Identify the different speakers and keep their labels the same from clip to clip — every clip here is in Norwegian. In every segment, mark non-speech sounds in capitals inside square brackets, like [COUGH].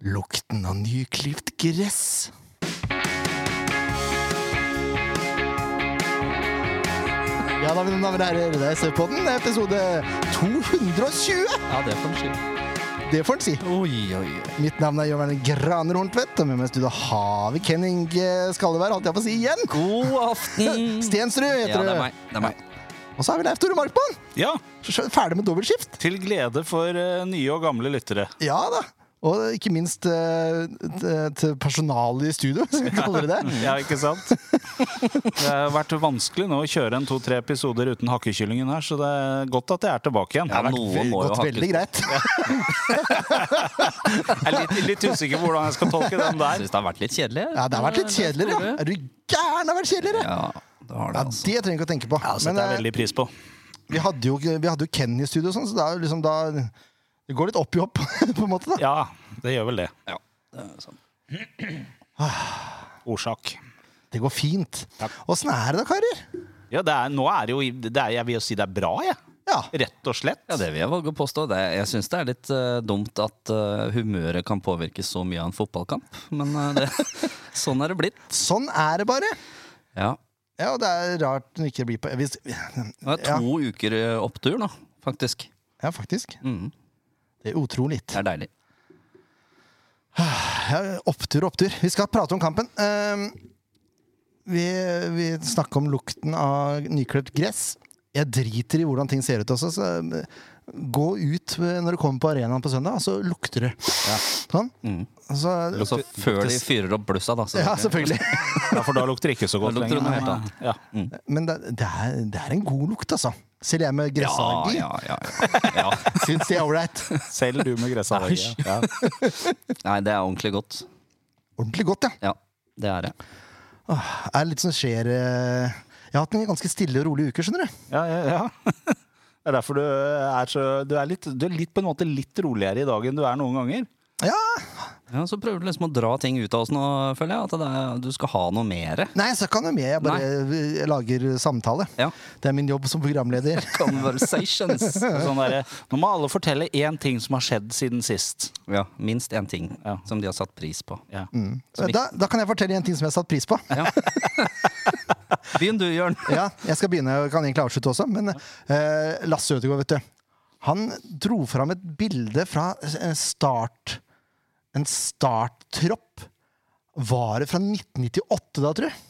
Speaker 1: Lukten av nyklipt gress. Ja, da, mine damer og herrer, det er SV-podden, episode 220.
Speaker 2: Ja, det får en skyld.
Speaker 1: Det får en si.
Speaker 2: Oi, oi, oi.
Speaker 1: Mitt navn er Jørgen Graner Horntvedt, og med meg i studio har vi Kenning eh, Skallevær, holdt jeg på å si igjen.
Speaker 2: God [LAUGHS] aften.
Speaker 1: Stensrud heter
Speaker 2: Ja, det er
Speaker 1: du.
Speaker 2: meg. Det er meg.
Speaker 1: Og så har vi Leif Tore Markmann.
Speaker 3: Ja,
Speaker 1: Ferdig med dobbeltskift.
Speaker 3: til glede for eh, nye og gamle lyttere.
Speaker 1: Ja da. Og ikke minst eh, t- til personalet i studio, [LAUGHS] hvis vi kaller det det.
Speaker 3: Ja, ikke [LAUGHS] sant? Det har vært vanskelig nå å kjøre en to-tre episoder uten hakkekyllingen her, så det er godt at jeg er tilbake igjen.
Speaker 2: Ja, noen må jo
Speaker 1: Gått
Speaker 2: ha
Speaker 1: veldig greit.
Speaker 3: Jeg er litt, litt usikker på hvordan jeg skal tolke den
Speaker 2: Jeg
Speaker 3: [LAUGHS] der.
Speaker 2: syns det har vært litt kjedelig.
Speaker 1: Ja, det har vært litt kjedeligere, ja. Er du gæren? Det har vært kjedeligere!
Speaker 2: Ja, det har det,
Speaker 1: Ja,
Speaker 2: altså.
Speaker 1: det trenger vi ikke å tenke på.
Speaker 3: Det setter jeg
Speaker 1: eh,
Speaker 3: veldig pris på.
Speaker 1: vi hadde jo, vi hadde jo Ken i studio, og sånn, så da, er det liksom, da Det går litt opp i opp, [LAUGHS] på en måte. da
Speaker 3: Ja, det gjør vel det.
Speaker 2: Ja, det er sant.
Speaker 3: Årsak.
Speaker 1: Det går fint. Åssen er det da, karer?
Speaker 3: Ja, det er, nå er det jo i- det er, Jeg vil jo si det er bra, jeg.
Speaker 1: Ja.
Speaker 3: Rett og slett.
Speaker 2: Ja, det vil jeg våge å påstå. Det, jeg syns det er litt eh, dumt at eh, humøret kan påvirke så mye av en fotballkamp, men eh, det, [LAUGHS] sånn er det blitt.
Speaker 1: Sånn er det bare.
Speaker 2: Ja.
Speaker 1: Ja, og det er rart den ikke blir på hvis, Ja,
Speaker 2: Det er to uker eh, opptur nå, faktisk.
Speaker 1: faktisk.
Speaker 2: Mhm.
Speaker 1: Det er utrolig.
Speaker 2: Det er deilig.
Speaker 1: Ja, opptur, opptur. Vi skal prate om kampen. Ehm, vi, vi snakker om lukten av nyklipt gress. Jeg driter i hvordan ting ser ut også. Så eh, gå ut eh, når du kommer på arenaen på søndag, og så lukter det. Sånn.
Speaker 2: Mm.
Speaker 1: Så,
Speaker 2: Så Altså, før de fyrer opp blussa, da.
Speaker 1: ja,
Speaker 2: [LAUGHS]
Speaker 1: selvfølgelig.
Speaker 3: Ja, for da lukter det ikke så godt
Speaker 2: Da lukter det noe
Speaker 3: lenger. eh,
Speaker 2: helt annet.
Speaker 3: Ja.
Speaker 1: Men det, det, er, det er en god lukt, altså. Selv jeg med
Speaker 2: Ja,
Speaker 1: gressallergi [LAUGHS]
Speaker 2: ja, ja, ja. ja.
Speaker 1: syns det er ålreit.
Speaker 3: [LAUGHS] Selv du med gressallergi.
Speaker 2: Æsj.
Speaker 3: Ja.
Speaker 2: Nei, det er ordentlig godt.
Speaker 1: Ordentlig godt, ja.
Speaker 2: Ja, det er det.
Speaker 1: Det er litt som skjer eh, Jeg har hatt en ganske stille og rolig uke, skjønner du.
Speaker 3: Ja, ja, ja. [LAUGHS] Det er derfor du eh, er så Du er, litt, du er litt, på en måte litt roligere i dag enn du er noen ganger.
Speaker 1: Ja,
Speaker 2: Ja, Så prøver du liksom å dra ting ut av oss nå, føler jeg. At det er, du skal ha noe mere.
Speaker 1: Nei, jeg skal ikke ha noe med. Jeg bare jeg lager samtale.
Speaker 2: Ja.
Speaker 1: Det er min jobb som programleder.
Speaker 2: Conversations.
Speaker 3: Sånn derre, nå må alle fortelle én ting som har skjedd siden sist.
Speaker 2: ja, minst én ting
Speaker 3: Ja.
Speaker 2: som de har satt pris på.
Speaker 3: Ja.
Speaker 1: Da, da kan jeg fortelle en ting som jeg har satt pris på.
Speaker 2: Ja. [LAUGHS] Begynn du, Jørn.
Speaker 1: Ja, jeg skal begynne, og kan egentlig avslutte også, men eh, Lasse Ødegaard, vet du. Han dro fram et bilde fra en start En starttropp. Var det fra 1998, da, tror jeg?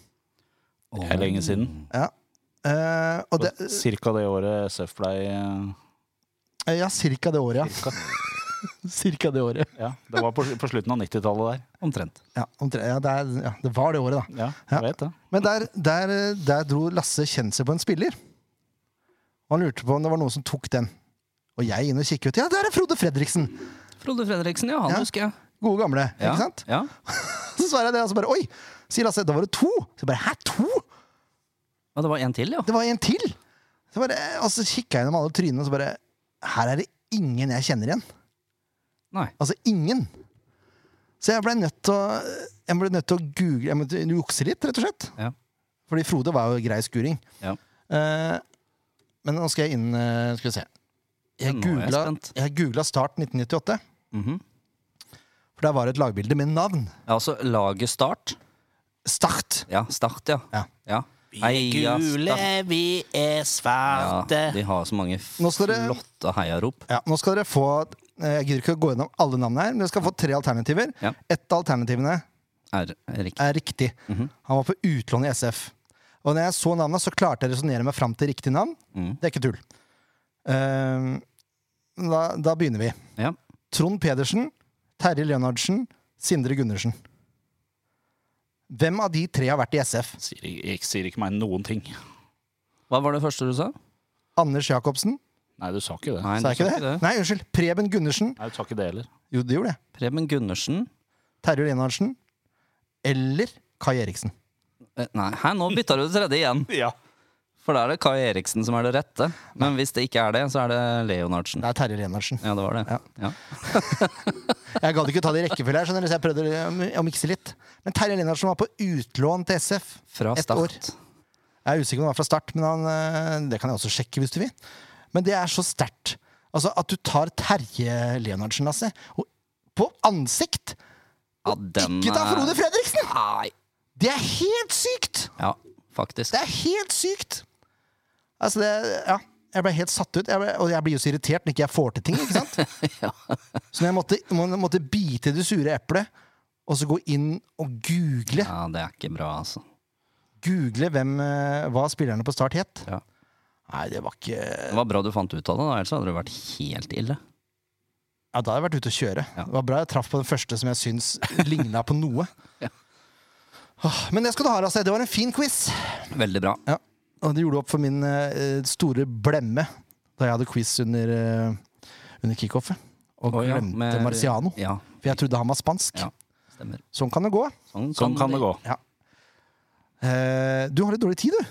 Speaker 3: Det er lenge siden.
Speaker 1: Ja. Eh, og det, eh,
Speaker 3: Cirka det året SF ble eh,
Speaker 1: ja, cirka det året, ja. [LAUGHS] cirka det året.
Speaker 3: Ja, det var på, på slutten av 90-tallet der.
Speaker 2: Omtrent.
Speaker 1: Ja, omtre- ja, det, er, ja, det var det året, da.
Speaker 3: Ja,
Speaker 1: Ja.
Speaker 3: jeg vet det.
Speaker 1: Men der, der, der dro Lasse kjensel på en spiller. Og han lurte på om det var noen som tok den. Og jeg inn og kikket ut. Ja, der er Frode Fredriksen!
Speaker 2: Frode Fredriksen, ja. Han
Speaker 1: Ja.
Speaker 2: husker jeg.
Speaker 1: Gode gamle.
Speaker 2: Ja.
Speaker 1: ikke sant?
Speaker 2: Ja.
Speaker 1: Så svarer jeg det, og så bare Oi! Sier Lasse. Da var det to! Så jeg bare Hæ, to?
Speaker 2: ja, det var en til, ja.
Speaker 1: Det var en til! Så bare, og så kikka jeg gjennom alle trynene, og så bare Her er det ingen jeg kjenner igjen.
Speaker 2: Nei.
Speaker 1: Altså ingen. Så jeg ble nødt til å Jeg ble nødt til å google Jeg måtte jukse litt, rett og slett.
Speaker 2: Ja.
Speaker 1: Fordi Frode var jo grei skuring.
Speaker 2: Ja.
Speaker 1: Eh, men nå skal jeg inn eh, Skal vi se. Jeg
Speaker 2: Ja, nå er jeg
Speaker 1: googla,
Speaker 2: spent. Mhm.
Speaker 1: jeg googla Start 1998. For der var det et lagbilde med navn.
Speaker 2: Ja, Altså laget Start.
Speaker 1: Start!
Speaker 2: Ja, Start, ja.
Speaker 1: Ja.
Speaker 2: ja. Heia Start.
Speaker 3: vi er
Speaker 2: Ja, de har så mange
Speaker 1: Nå skal dere-
Speaker 2: flotte heiarop.
Speaker 1: Ja, nå skal dere få eh, Jeg gidder ikke å gå gjennom alle navnene her, men dere skal få tre alternativer.
Speaker 2: Ja.
Speaker 1: Ett av alternativene
Speaker 2: Er er riktig.
Speaker 1: er riktig.
Speaker 2: Mhm.
Speaker 1: Han var på utlån i SF. Og når jeg så navnet, så klarte jeg å resonnere meg fram til riktig navn.
Speaker 2: Mhm.
Speaker 1: Det er ikke tull. Eh, da, da begynner vi.
Speaker 2: Ja.
Speaker 1: Trond Pedersen, Terje Leonardsen, Sindre Gundersen. Hvem av de tre har vært i SF?
Speaker 3: Sier, ikke- sier ikke meg noen ting.
Speaker 2: Hva var det første du sa?
Speaker 1: Anders Jacobsen?
Speaker 3: Nei, du sa ikke det. Nei,
Speaker 2: Nei,
Speaker 1: Sa
Speaker 2: du
Speaker 1: jeg ikke det? Nei, unnskyld. Preben Gundersen?
Speaker 3: du sa ikke det heller.
Speaker 1: Jo, det gjorde jeg.
Speaker 2: Preben Gundersen.
Speaker 1: Terje Leonardsen? Eller Kai Eriksen?
Speaker 2: Eh, Nei, her, nå bytta du det tredje igjen.
Speaker 3: Ja.
Speaker 2: For da er det Kai Eriksen som er det rette. Men hvis det ikke er det, så er det Leonardsen.
Speaker 1: Det er Terje Leonardsen.
Speaker 2: Ja, det var det.
Speaker 1: Ja.
Speaker 2: Ja.
Speaker 1: Jeg gadd ikke ta det i rekkefølge her, skjønner du, så jeg prøvde å mikse litt. Men Terje Leonardsen var på utlån til SF.
Speaker 2: Fra
Speaker 1: Ett år.
Speaker 2: start.
Speaker 1: Jeg er usikker om han var fra start, men han, eh, det kan jeg også sjekke hvis du vil. Men det er så sterkt. Altså, at du tar Terje Leonardsen, Lasse, og på ansikt
Speaker 2: Ja, den
Speaker 1: Ikke ta
Speaker 2: er-
Speaker 1: Frode Fredriksen!
Speaker 2: Nei.
Speaker 1: Det er helt sykt!
Speaker 2: Ja, faktisk.
Speaker 1: Det er helt sykt! Altså, det Ja. Jeg ble helt satt ut. Jeg ble, og jeg blir jo så irritert når ikke jeg får til ting. ikke
Speaker 2: [LAUGHS]
Speaker 1: sant? Så når jeg måtte, må- måtte bite i det sure eplet, og så gå inn og google
Speaker 2: Ja, det er ikke bra, altså.
Speaker 1: Google hvem, eh, hva spillerne på Start het
Speaker 2: Ja.
Speaker 1: Nei, det var ikke
Speaker 2: Det var bra du fant ut av det, da, ellers hadde det vært helt ille.
Speaker 1: Ja, da hadde jeg vært ute å kjøre.
Speaker 2: Ja.
Speaker 1: Det var bra jeg traff på den første som jeg syns ligna på noe.
Speaker 2: [LAUGHS] Ja.
Speaker 1: Åh, Men det skal du ha, Rasse. Det var en fin quiz.
Speaker 2: Veldig bra.
Speaker 1: Ja. Og det gjorde opp for min eh, store blemme da jeg hadde quiz under, uh, under kickoffet. Og
Speaker 2: Å, ja,
Speaker 1: glemte
Speaker 2: med-
Speaker 1: Marciano.
Speaker 2: Ja,
Speaker 1: For jeg trodde han var spansk.
Speaker 2: ja, stemmer.
Speaker 1: Sånn kan det gå.
Speaker 2: Sånn,
Speaker 3: Sånn kan det gå.
Speaker 1: Eh, du har litt dårlig tid, du.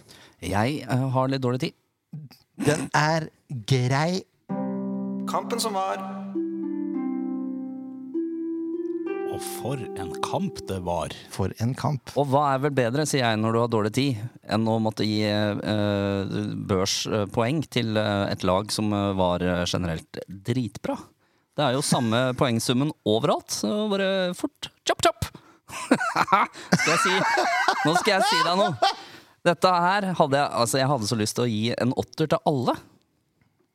Speaker 2: Jeg eh, har litt dårlig tid.
Speaker 1: Den er grei.
Speaker 4: Kampen som var.
Speaker 3: Og for en kamp det var.
Speaker 1: For en kamp.
Speaker 2: Og hva er vel bedre, sier jeg, når du har dårlig tid, enn å måtte gi eh, børspoeng til eh, et lag som eh, var eh, generelt dritbra? Det er jo samme [LAUGHS] poengsummen overalt, så bare fort. Chop, chop! [LAUGHS] skal jeg si, nå skal jeg si deg noe. Dette her hadde jeg Altså, jeg hadde så lyst til å gi en åtter til alle.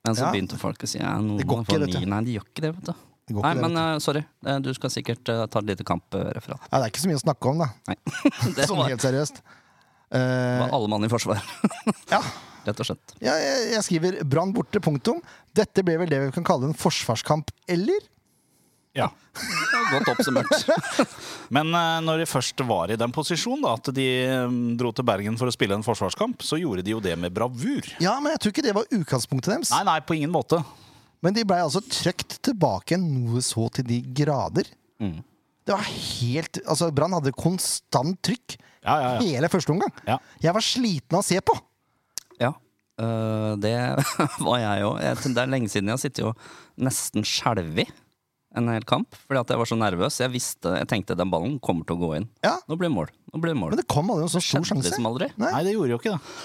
Speaker 2: Men så
Speaker 1: Ja.
Speaker 2: begynte folk å si ja, noen
Speaker 1: Det går
Speaker 2: må få
Speaker 1: ikke, vet du.
Speaker 2: ni. Nei, de gjør ikke det, vet du.
Speaker 1: Det går
Speaker 2: Nei,
Speaker 1: ikke det,
Speaker 2: men eh, sorry. Eh, Du skal sikkert eh, ta et lite kampreferat.
Speaker 1: Ja, det er ikke så mye å snakke om, da.
Speaker 2: Nei. [LAUGHS] Det
Speaker 1: Sånn
Speaker 2: var-
Speaker 1: helt seriøst. Eh,
Speaker 2: var alle mann i forsvar, [LAUGHS]
Speaker 1: ja,
Speaker 2: rett og slett.
Speaker 1: ja, jeg, jeg skriver 'Brann borte', punktum. Dette ble vel det vi kan kalle en forsvarskamp, eller?
Speaker 3: Ja.
Speaker 2: Godt oppsummert.
Speaker 1: [LAUGHS]
Speaker 3: Men eh, når de først var i den posisjonen, da, at de eh, dro til Bergen for å spille en forsvarskamp, så gjorde de jo det med bravur.
Speaker 1: Ja, men jeg tror ikke det var utgangspunktet deres.
Speaker 3: Nei, nei, på ingen måte.
Speaker 1: Men de blei altså trøkt tilbake noe så til de grader.
Speaker 3: Mm.
Speaker 1: Det var helt Altså, Brann hadde konstant trykk
Speaker 3: Ja, ja, ja.
Speaker 1: hele første omgang.
Speaker 3: Ja.
Speaker 1: Jeg var sliten av å se på.
Speaker 2: Ja, øh, det [LAUGHS] var jeg òg. Det er lenge siden jeg har sittet og nesten skjelvet en hel kamp. Fordi at jeg var så nervøs. Jeg visste, jeg tenkte den ballen kommer til å gå inn.
Speaker 1: Ja.
Speaker 2: Nå blir det mål. Nå blir det mål.
Speaker 1: Men det kom aldri noen så stor
Speaker 2: Skjedde
Speaker 1: sjanse.
Speaker 2: liksom aldri.
Speaker 1: Nei.
Speaker 3: Nei, det gjorde jo ikke det.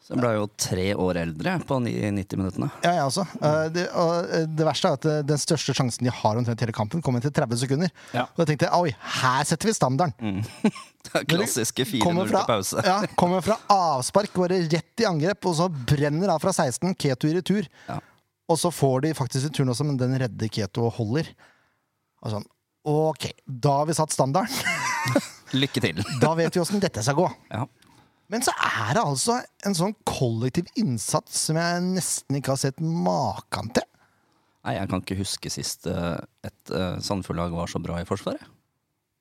Speaker 2: Så jeg ble jo tre år eldre på ni- 90 minuttene. [LAUGHS]
Speaker 1: Ja, jeg også. Eh, Det, og eh, det verste er at eh, den største sjansen de har omtrent hele kampen, kommer etter 30 sekunder.
Speaker 3: Ja.
Speaker 1: Og da tenkte jeg oi, her setter vi standarden.
Speaker 2: Det er klassiske 4-0
Speaker 1: Kommer fra,
Speaker 2: til pause.
Speaker 1: ja, kommer fra avspark, bare rett i angrep, og så brenner av fra 16, Keto i retur.
Speaker 2: Ja.
Speaker 1: Og så får de faktisk returen også, men den redder Keto og holder. Og sånn, ok, da har vi satt standarden. [LAUGHS]
Speaker 2: Lykke til.
Speaker 1: Da vet vi åssen dette skal gå.
Speaker 2: Ja.
Speaker 1: Men så er det altså en sånn kollektiv innsats som jeg nesten ikke har sett maken til.
Speaker 2: Nei, jeg kan ikke huske sist øh, et øh, Sandefjord-lag var så bra i forsvaret.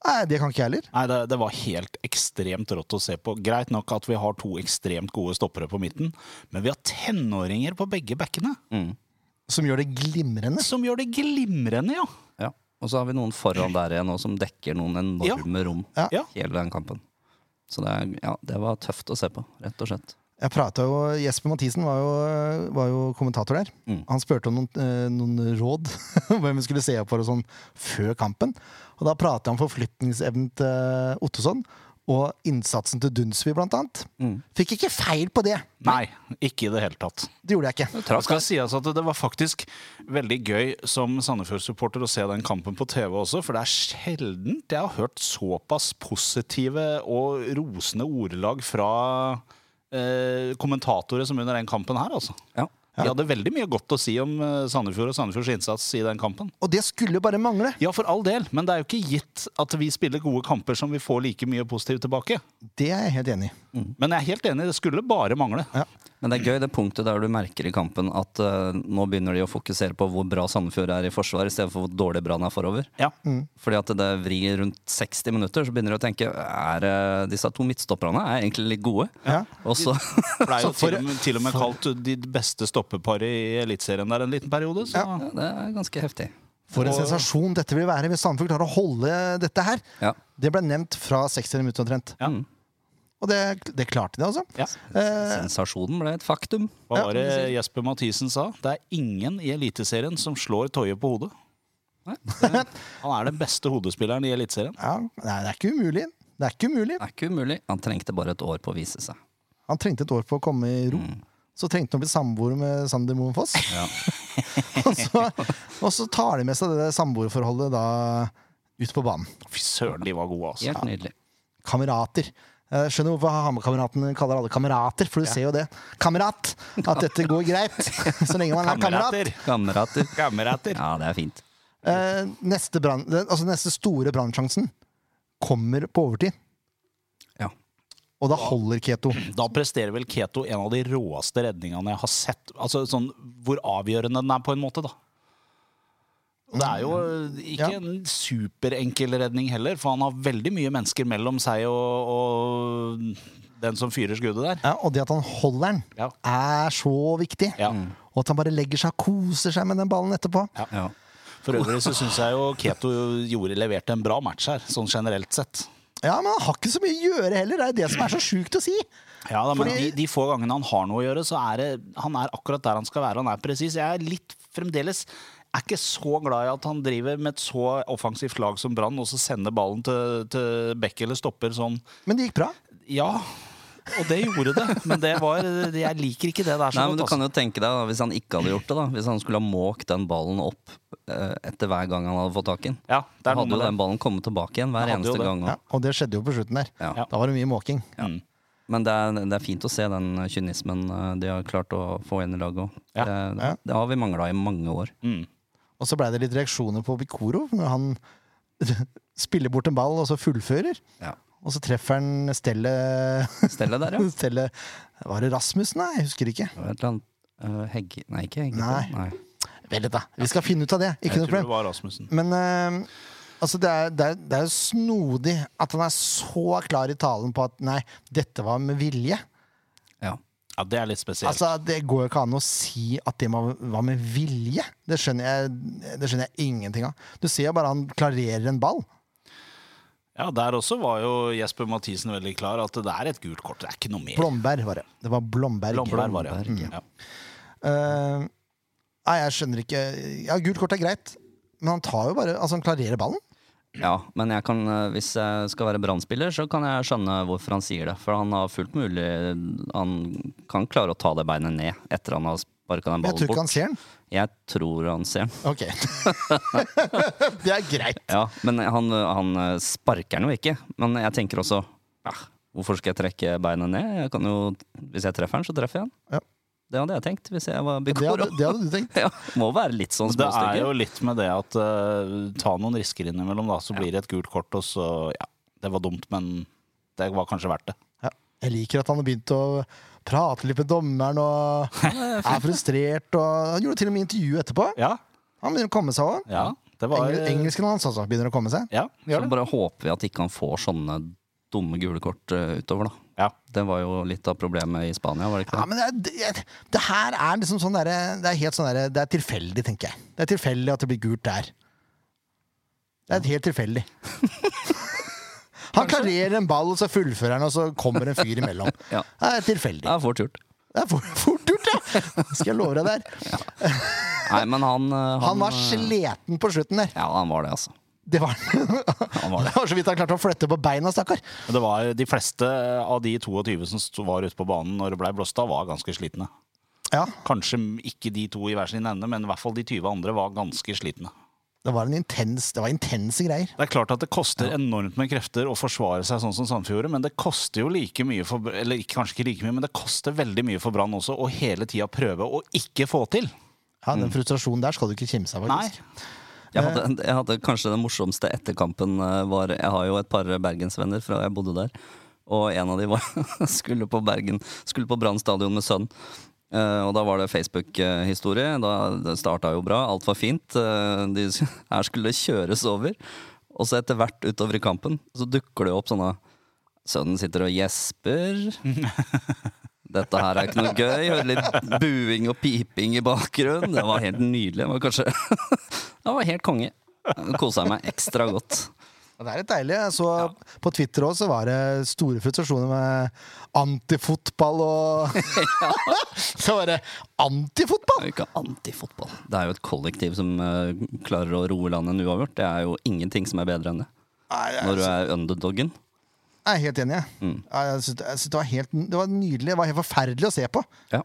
Speaker 1: Nei, det kan ikke jeg heller.
Speaker 3: Nei, det, det var helt ekstremt rått å se på. Greit nok at vi har to ekstremt gode stoppere på midten, men vi har tenåringer på begge bekkene
Speaker 1: Som gjør det glimrende.
Speaker 3: som gjør det glimrende, ja.
Speaker 2: Ja. Og så har vi noen foran der igjen nå som dekker noen enorme rom.
Speaker 1: Ja.
Speaker 3: Ja.
Speaker 2: hele den kampen. Så det, er- ja, det var tøft å se på, rett og slett.
Speaker 1: Jeg pratet jo, Jesper Mathisen var jo, var jo kommentator der. Han spurte om noen, eh, noen råd, [LAUGHS] hvem vi skulle se opp for og sånn, før kampen. Og da pratet han om forflytningsevnen til Ottosson, og innsatsen til Dunsby blant annet. Fikk ikke feil på det!
Speaker 3: Nei, ikke i det hele tatt.
Speaker 1: Det gjorde jeg ikke.
Speaker 3: Det skal sies at det var faktisk veldig gøy som Sandefjord-supporter å se den kampen på TV også, for det er sjeldent jeg har hørt såpass positive og rosende ordelag fra eh, kommentatorer som under den kampen her, altså.
Speaker 2: Ja.
Speaker 3: De hadde veldig mye godt å si om eh, Sandefjord og Sandefjords innsats i den kampen.
Speaker 1: Og det skulle jo bare mangle!
Speaker 3: Ja, for all del, men det er jo ikke gitt at vi spiller gode kamper som vi får like mye positivt tilbake.
Speaker 1: Det er jeg helt enig i.
Speaker 3: Men jeg er helt enig, det skulle bare mangle.
Speaker 2: Men det er gøy det punktet der du merker i kampen at eh, nå begynner de å fokusere på hvor bra Sandefjord er i forsvar, i stedet for hvor dårlig Brann er forover.
Speaker 3: Ja.
Speaker 1: Mm.
Speaker 2: Fordi at det vrir rundt 60 minutter, så begynner de å tenke er eh, disse to midtstopperne er egentlig litt gode.
Speaker 1: Ja.
Speaker 2: Og så [LAUGHS]
Speaker 3: For det er
Speaker 1: Så
Speaker 3: jo
Speaker 1: for-
Speaker 3: til og med, til og med kalt de beste stoppeparet i Eliteserien der en liten periode. Så.
Speaker 2: ja, Det er ganske heftig.
Speaker 1: For en sensasjon dette vil være hvis Sandefjord klarer å holde dette her!
Speaker 2: Ja. Mm.
Speaker 1: Det ble nevnt fra 60 minutter omtrent.
Speaker 3: Ja.
Speaker 1: Og det, det klarte de, altså.
Speaker 3: Ja.
Speaker 1: Eh,
Speaker 2: Sensasjonen ble et faktum.
Speaker 3: Hva var det Jesper Mathisen sa? Det er ingen i Eliteserien som slår Toje på hodet.
Speaker 2: Nei.
Speaker 3: [LAUGHS] Han er den beste hodespilleren i Eliteserien.
Speaker 1: ja, nei, det er ikke umulig. Det er ikke umulig.
Speaker 2: Det er ikke umulig. Han trengte bare et år på å vise seg.
Speaker 1: Han trengte et år på å komme i ro.
Speaker 3: Mm.
Speaker 1: Så trengte han å bli samboer med Sander Moen Foss. [LAUGHS] og, så, og så tar de med seg det der samboerforholdet da ut på banen.
Speaker 3: Fy søren, de var gode, altså.
Speaker 2: Helt nydelig.
Speaker 1: Kamerater. Jeg skjønner hvorfor Hamar-kameratene kaller alle kamerater, for du ser jo det. Kamerat! At dette går greit, så lenge man er kamerat.
Speaker 3: Kamerater! [LAUGHS]
Speaker 2: Kamerater.
Speaker 3: Kamerater.
Speaker 2: Ja, det er fint.
Speaker 1: Eh, neste, brann- den- altså neste store brannsjansen kommer på overtid.
Speaker 2: Ja.
Speaker 1: Og da holder Keto.
Speaker 3: Da presterer vel Keto en av de råeste redningene jeg har sett. Altså sånn hvor avgjørende den er, på en måte, da. Og Det er jo eh, ikke
Speaker 1: Ja.
Speaker 3: en superenkel redning heller, for han har veldig mye mennesker mellom seg og, og den som fyrer skuddet der.
Speaker 1: Ja, og det at han holder den,
Speaker 3: Ja.
Speaker 1: er så viktig.
Speaker 3: Ja.
Speaker 1: Og at han bare legger seg og koser seg med den ballen etterpå.
Speaker 2: Ja.
Speaker 3: For øvrig så syns jeg jo Keto gjorde, leverte en bra match her, sånn generelt sett.
Speaker 1: Ja, men han har ikke så mye å gjøre heller. Det er jo det som er så sjukt å si.
Speaker 3: Ja, da, men
Speaker 1: Fordi-
Speaker 3: de, de få gangene han har noe å gjøre, så er det, han er akkurat der han skal være. Han er presis. Jeg er litt fremdeles er ikke så glad i at han driver med et så offensivt lag som Brann, og så sender ballen til, til bekk eller stopper sånn.
Speaker 1: Men det gikk bra.
Speaker 3: Ja, og det gjorde det, men det var, jeg liker ikke det der så
Speaker 2: Nei, men du
Speaker 3: godt.
Speaker 2: kan
Speaker 3: Altså.
Speaker 2: jo tenke deg da, Hvis han ikke hadde gjort det, da hvis han skulle ha måkt den ballen opp eh, etter hver gang han hadde fått tak i den,
Speaker 3: Ja, det
Speaker 2: da
Speaker 3: er noe
Speaker 2: hadde jo
Speaker 3: med det.
Speaker 2: den ballen kommet tilbake igjen hver
Speaker 3: Han hadde jo
Speaker 2: eneste
Speaker 3: det.
Speaker 2: gang.
Speaker 1: Ja,
Speaker 2: også.
Speaker 1: og det skjedde jo på slutten der.
Speaker 2: Ja.
Speaker 1: Da var det mye måking.
Speaker 3: Mm.
Speaker 2: Men det er, det er fint å se den kynismen eh, de har klart å få inn i laget òg.
Speaker 3: Ja.
Speaker 2: Det, det har vi mangla i mange år.
Speaker 3: Mm.
Speaker 1: Og så blei det litt reaksjoner på Bikoro når han [LAUGHS] spiller bort en ball og så fullfører.
Speaker 2: Ja.
Speaker 1: Og så treffer han Stelle
Speaker 2: Stellet der, ja.
Speaker 1: [LAUGHS]
Speaker 3: [LAUGHS]
Speaker 1: Stelle Var det Rasmussen? Nei, jeg husker ikke.
Speaker 2: Det var Et eller annet eh, Hegge... Nei, ikke Hegge.
Speaker 1: Nei.
Speaker 2: Nei.
Speaker 1: Vel, da. Vi skal finne ut av det. Ikke
Speaker 3: Jeg
Speaker 1: noe
Speaker 3: tror det
Speaker 1: problem.
Speaker 3: var Rasmussen.
Speaker 1: Men eh, altså, det er, det, er, det er jo snodig at han er så klar i talen på at nei, dette var med vilje.
Speaker 2: Ja.
Speaker 3: Ja, det er litt spesielt.
Speaker 1: Altså, Det går jo ikke an å si at det var var med vilje. Det skjønner jeg, det skjønner jeg ingenting av. Du ser jo bare han klarerer en ball.
Speaker 3: Ja, Der også var jo Jesper Mathisen veldig klar at det er et gult kort. Det er ikke noe mer.
Speaker 1: Blomberg var det. Det var Blomberg.
Speaker 3: Blomberg var det. ja.
Speaker 2: Blomberg,
Speaker 3: Ja.
Speaker 1: Eh, nei, jeg skjønner ikke Ja, Gult kort er greit, men han tar jo bare Altså, han klarerer ballen.
Speaker 2: ja, men jeg kan, eh, hvis jeg skal være brannspiller, så kan jeg skjønne hvorfor han sier det. For han har fullt mulig Han kan klare å ta det beinet ned etter han har sparka den
Speaker 1: Men jeg
Speaker 2: ballen
Speaker 1: tror ikke
Speaker 2: bort.
Speaker 1: han ser den.
Speaker 2: Jeg tror han ser den.
Speaker 1: Ok. [LAUGHS] det er greit.
Speaker 2: Ja, men han, han eh, sparker den jo ikke. Men jeg tenker også ja, Hvorfor skal jeg trekke beinet ned? Jeg kan jo, hvis jeg treffer den, så treffer jeg den.
Speaker 1: Ja.
Speaker 2: Det hadde jeg tenkt hvis jeg var
Speaker 1: Det hadde,
Speaker 2: Bikoro.
Speaker 1: det hadde du tenkt.
Speaker 2: [LAUGHS] Ja, må være litt sånn
Speaker 3: Det er
Speaker 2: småstykker.
Speaker 3: jo litt med det at eh, ta noen risker innimellom, da, så blir det et gult kort, og så ja, det var dumt, men det var kanskje verdt det.
Speaker 1: Ja. Jeg liker at han har begynt å prate litt med dommeren og er frustrert. Og han gjorde til og med intervju etterpå.
Speaker 3: Ja,
Speaker 1: Han begynner å komme seg òg.
Speaker 3: ja, det var
Speaker 1: Engelsken hans også begynner å komme seg.
Speaker 3: Ja,
Speaker 2: Så
Speaker 3: gjør det.
Speaker 2: bare håper vi at ikke han får sånne dumme gule kort eh, utover, da.
Speaker 3: Ja.
Speaker 2: Det var jo litt av problemet i Spania, var det ikke
Speaker 1: Ja,
Speaker 2: det?
Speaker 1: men det, er- det, det her er liksom sånn derre Det er helt sånn derre Det er tilfeldig, tenker jeg. Det er tilfeldig at det blir gult der. Det er helt tilfeldig. Han klarerer en ball, og så fullfører han, og så kommer en fyr imellom.
Speaker 2: Ja.
Speaker 1: Det er tilfeldig.
Speaker 2: Det er fort gjort.
Speaker 1: Det er fort, fort gjort, ja! Skal jeg love deg der.
Speaker 2: Nei, men han eh,
Speaker 1: Han var
Speaker 2: eh,
Speaker 1: sliten på slutten der.
Speaker 2: Ja, han var det, altså.
Speaker 1: Det var [LAUGHS] han.
Speaker 2: var det.
Speaker 1: Det var så vidt han klarte å flytte på beina, stakkar.
Speaker 3: Men Det var, de fleste av de 22 som sto- var ute på banen når det ble blåst av, var ganske slitne.
Speaker 1: Ja,
Speaker 3: Kanskje ikke de to i hver sin ende, men i hvert fall de 20 andre var ganske slitne.
Speaker 1: det var en intens Det var intense greier.
Speaker 3: Det er klart at det koster enormt med krefter å forsvare seg sånn som Sandefjord gjorde, men det koster jo like mye for Eller ikke- kanskje ikke like mye, men det koster veldig mye for Brann også å hele tida prøve å ikke få til.
Speaker 1: Ja, Den frustrasjonen der skal du ikke kimse av,
Speaker 3: Nei.
Speaker 1: faktisk.
Speaker 2: Jeg hadde,
Speaker 1: Eh.
Speaker 2: jeg hadde kanskje den morsomste etter kampen eh, var Jeg har jo et par bergensvenner fra jeg bodde der. Og en av de var, [LAUGHS] skulle på Bergen Skulle på Brann stadion med sønn. Eh, og da var det Facebook-historie. Da det starta jo bra, alt var fint. Eh, de, [LAUGHS] her skulle det kjøres over. Og så etter hvert utover i kampen så dukker det jo opp sånne Sønnen sitter og gjesper. Dette her er ikke noe gøy. Hører litt buing og piping i bakgrunnen. Det var helt nydelig. Det var kanskje [LAUGHS] Det var helt konge. Kosa meg ekstra godt.
Speaker 1: Ja, Det er litt deilig. Jeg så På Twitter også var det store frustrasjoner med antifotball [LAUGHS] og Så var det
Speaker 2: Det
Speaker 1: antifotball!
Speaker 2: er jo ikke antifotball. Det er jo et kollektiv som eh, klarer å roe landet en uavgjort. Det er jo ingenting som er bedre enn det.
Speaker 1: Nei, jeg,
Speaker 2: Når du
Speaker 3: altså-
Speaker 2: er underdoggen.
Speaker 1: jeg er helt enig, jeg. Ja, Jeg syns det jeg synes det var helt det var nydelig. Det var helt forferdelig å se på.
Speaker 2: Ja.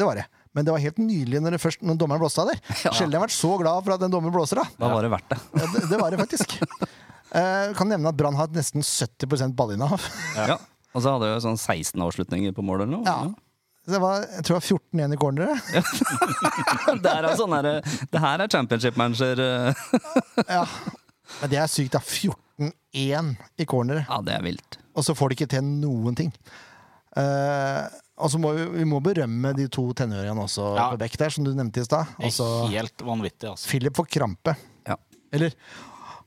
Speaker 1: Det var det. Men det var helt nydelig når, det først, når dommeren blåste [LAUGHS] av der. Sjelden har jeg vært så glad for at en dommer blåser av.
Speaker 2: Da var det verdt det.
Speaker 1: Ja, det, det var det faktisk. [LAUGHS] Eh, kan nevne at Brann har nesten 70 ballinnehav.
Speaker 2: Ja. Og så hadde jeg jo sånn 16 avslutninger på mål eller noe.
Speaker 1: Ja. [LAUGHS] Så Det var, jeg tror det var 14-1 i corneret.
Speaker 2: Det her er sånn her, det her er championship manager. eh,
Speaker 1: Ja. Men det er sykt, da. 14-1 i corneret.
Speaker 2: Ja, det er vilt.
Speaker 1: Og så får de ikke til noen ting. Eh, og så må vi, vi må berømme de to tenåringene også
Speaker 3: Ja.
Speaker 1: på bekk der, som du nevnte i stad.
Speaker 3: Det er
Speaker 1: Altså,
Speaker 3: Helt vanvittig, altså.
Speaker 1: Philip får krampe.
Speaker 2: Ja.
Speaker 1: Eller